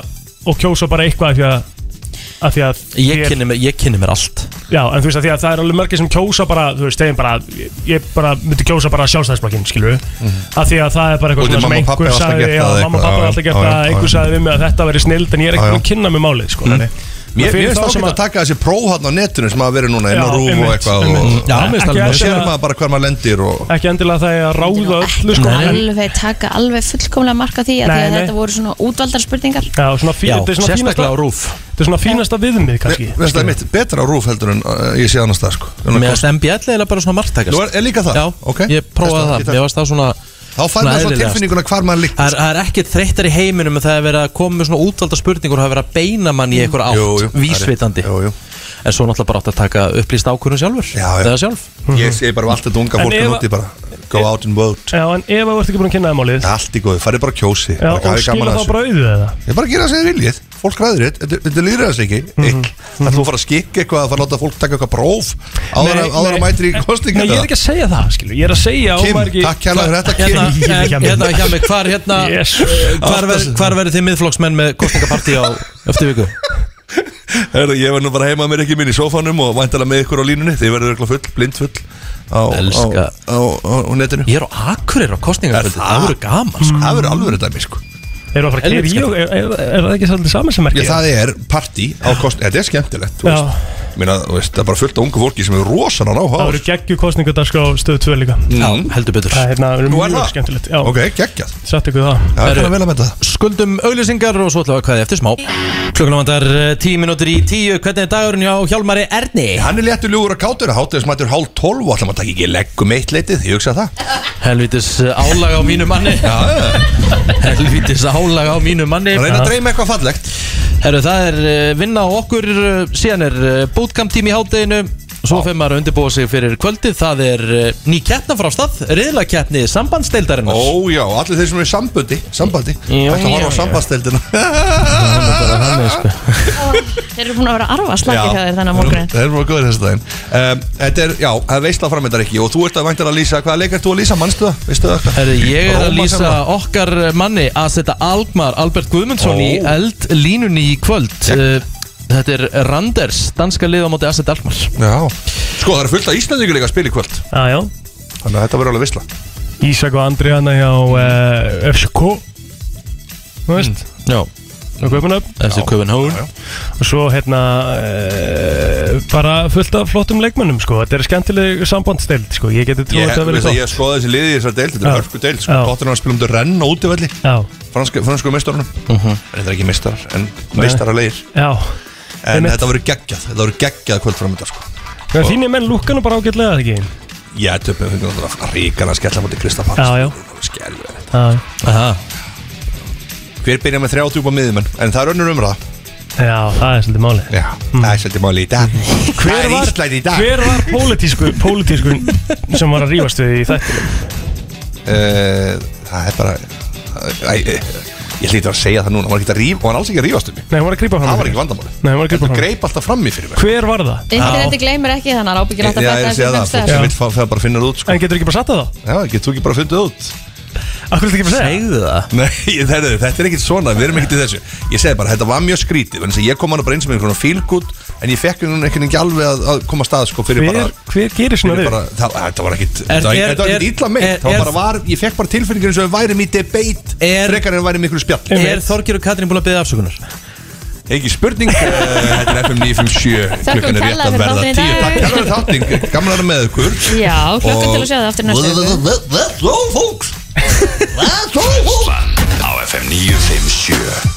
og kjósa bara eitthvað af því að, af því að Ég kynni mér, ég kynni mér allt Já, en þú veist að því að það er alveg mörgir sem kjósa bara, þú veist, þeim bara, ég- ég bara myndi kjósa bara sjálfstæðisblokkinn, skilur við að því að það er bara Og eitthvað svona því sem Mhm. mamma og pabbi einhver hafa alltaf sagði, gert já, það eitthvað, mamma og pappa já, er alltaf gert já, það, já, einhver já. sagði við mig að þetta væri snild en ég er Já, ekki búin já. að kynna mig málið, sko, Mm. þannig Mér Fyrir mér finnst þá það sem sem að taka þessi próf hann á netinu sem hafa verið núna inn á Já, rúf og einmitt, eitthvað og einmitt. Já, mér finnst alveg og nóg. sér maður bara hver maður lendir og ekki endilega það er að ráða öllu, sko en- Alveg taka alveg fullkomlega mark á því að, Nei, því að nei. þetta voru svona útvaldar spurningar Já, svona fí- Já, þetta er svona sérstaklega fínasta- á RÚV. Þetta er svona fínasta viðmið, kannski Mér finnst það mitt betra á rúf heldur en uh, ég sé annars það sko Mér finnst MBL eða bara svona margtækast Nú er- er líka það? Já, Ok. ég prófaði það, Þess vegna- mér varst það svona Þá fær maður svo tilfinninguna hvar maður líkt Það er- það er ekkert þreyttar í heiminum en það er verið að koma með svona útvalda spurningur og það er verið að beina mann í eitthvað átt, Jú, jú, það er- vísvitandi jú, jú. En svo náttúrulega bara átt að taka upplýst ákvörðum sjálfur Já, já Eða sjálf Ég sé bara á allt þetta unga Mhm. En fólk ef- núti bara Go out and vote Já, en ef þú ert ekki búin að kynna það málið Allt í góðu, farið bara að kjósi Já, og skila þá bara auðu eða Ég bara gera það sem þið viljið fólk ræður þetta, þetta- þetta er lýðræðisleiki Mhm. ekki, það er þú að fara að skikka eitthvað að fara að láta fólk taka eitthvað próf áður Nei, að- áður nei. að mætir í kostninga Nei, ég er ekki að segja það, skilur Ég er að segja að hún Kim, var ekki- takk kærlega fyrir þetta, Hérna, Kim. en- hérna, Hjami, hvar, hérna, eh, hvar, ver, hvar verður þið miðflokksmenn með kostningapartí á eftir viku? Herra, ég var nú bara heima mér ekki minn í sófanum og væntalega með ykkur á línunni, þið verður eitthvað full, blind full á, Elska. á, á, á, á netinu Ég er á Akureyri á kostningaföldi, það verður gaman sko. Það verður alveg dæmi sko Erum við að fara að keyra í og- er- er- er það ekki svolítið saman sem merkið? Já, það er partí á kost, þetta er skemmtilegt þú Já. veist. Ég meina, þú veist, það er bara fullt af ungu fólki sem er rosalega Það áhuga á voru geggju kostningardagskrá stöðu 2 líka Já, heldur betur Það er hérna, það er Nú er mjög það? skemmtilegt já. Ok, geggjað Satt ykkur það Herru, Skuldum auglýsingar og svo ætlum við að kvæði eftir smá Klukkuna vandar tíu minútur í tíu Hvernig er dagurinn hjá Hjálmari Erni? Hann er léttur ljúgur að kátur að hátuðismættur hálf tólf og ætlum að taka ekki leggum eitt leitið, ég hugsa það Helvitis álag á mínu manni Helvitis álag á mínu manni Reyna að dreyma eitthvað fallegt Herru, það er eh, vinna á okkur eh, Síðan er bootcamp tím í hátteginu Svo fyrir maður að undirbúa sig fyrir kvöldið Það er eh, ný keppna frá stað Riðlakeppni sambandsdeildarinnar Ó já, allir þeir sem eru í sambandi Sambandi, þetta já, var á já. sambandsdeildina Þeir eru búin að vera að arfa slagið hjá þér þannig að morgunin Það er bara góður þessu daginn um, Þetta er, já, það er veistla framöndar ekki Og þú ert að væntan að lýsa, hvaða leik ert þú að lýsa, mannstu það? Veistu það? Herru, ég er að Róma lýsa sjálfan. okkar manni að setja Alkmaar Albert Guðmundsson í Ó. eld línunni í kvöld yeah. Þetta er Randers, danska lið á móti Asset Alkmaar Já, sko það er fullt af Íslandingur líka að spila í kvöld Já, já Þannig að þetta verður alveg veistla Ísak og Andri hana hjá uh, FCK Þú Mm. veist Já Og Kaupanöf FC Kaupinhón. Og svo hérna uh, Bara fullt af flottum leikmönnum sko Þetta er skemmtileg sambandstild sko Ég geti trúið Ég, að þetta veist verið að ég gott skoði þessi liði í þessar deild, þetta Já. er hörku deild sko, Já. Tottenham að spila um þetta renn og útivelli Fransku, fransku meistarunum Þetta er ekki meistarar, en meistaralegir Já En Einmitt. þetta verður geggjað, þetta verður geggjað kvöld framöndar sko Það er þínir menn lúkkan og bara ágætlega eða ekki Ég um töpum fengið náttúrulega ríkan að skella mútið Kristapar Já, já. Já, Aha. Hver byrja með 30 upp á miðjumenn, en það er önnur umræða já, það er svolítið máli Já, það er svolítið máli í dag Það Mm. Hver er var, Ísland í dag hver var pólitísku, pólitísku sem var að rífast við í þættinum? Eh, Það er bara Æ, æ, eh, Ég hlýtur að segja það núna, maður ekki að ríf og hann alls ekki að rífast um mig Nei, hún var að grípa fram í Það var fyrir. ekki vandamáli Nei, hún var að grípa fram í. greip alltaf fram í fyrir mig Hver var það? Interneti gleymir ekki þannig að ábyggjur alltaf Já, ég sé það, fólk sem Já. vil fá- það bara finna það út sko. En getur ekki bara satt það þá? Já, getur þú ekki bara fundið það út Akkur þetta ekki bara segja? Segðu það Nei, ég- þetta er- þetta er ekkit svona, við erum ekkit í þessu Ég segi bara, þetta var mjög skrítið Þannig að ég kom hann bara eins og með einhvern fílgút En ég fekk einhvern veginn ekki alveg að, að koma að stað sko, fyrir Hver- bara Hver gerir svona við? fyrir bara, það, Þetta var ekkit Er- Þetta er- var ekkit- þetta var ekkit er- illa er- meitt Það er- var bara var, ég fekk bara tilfinningur eins og við værum í debate Er- Frekar en við værum í einhverju spjall Er Þorgir og Katrín búin að beða afsökunar? Ekki spurning, eh, þetta er FM 957 Þökkum Klukkan er rétt kærlega að fyrir þáttinn í verða 10 dag. Takk kærlega fyrir þátting, gaman að vera með ykkur Já, klukkan til að sjá það aftur í næstu viku. That's all folks That's all folks Á FM 957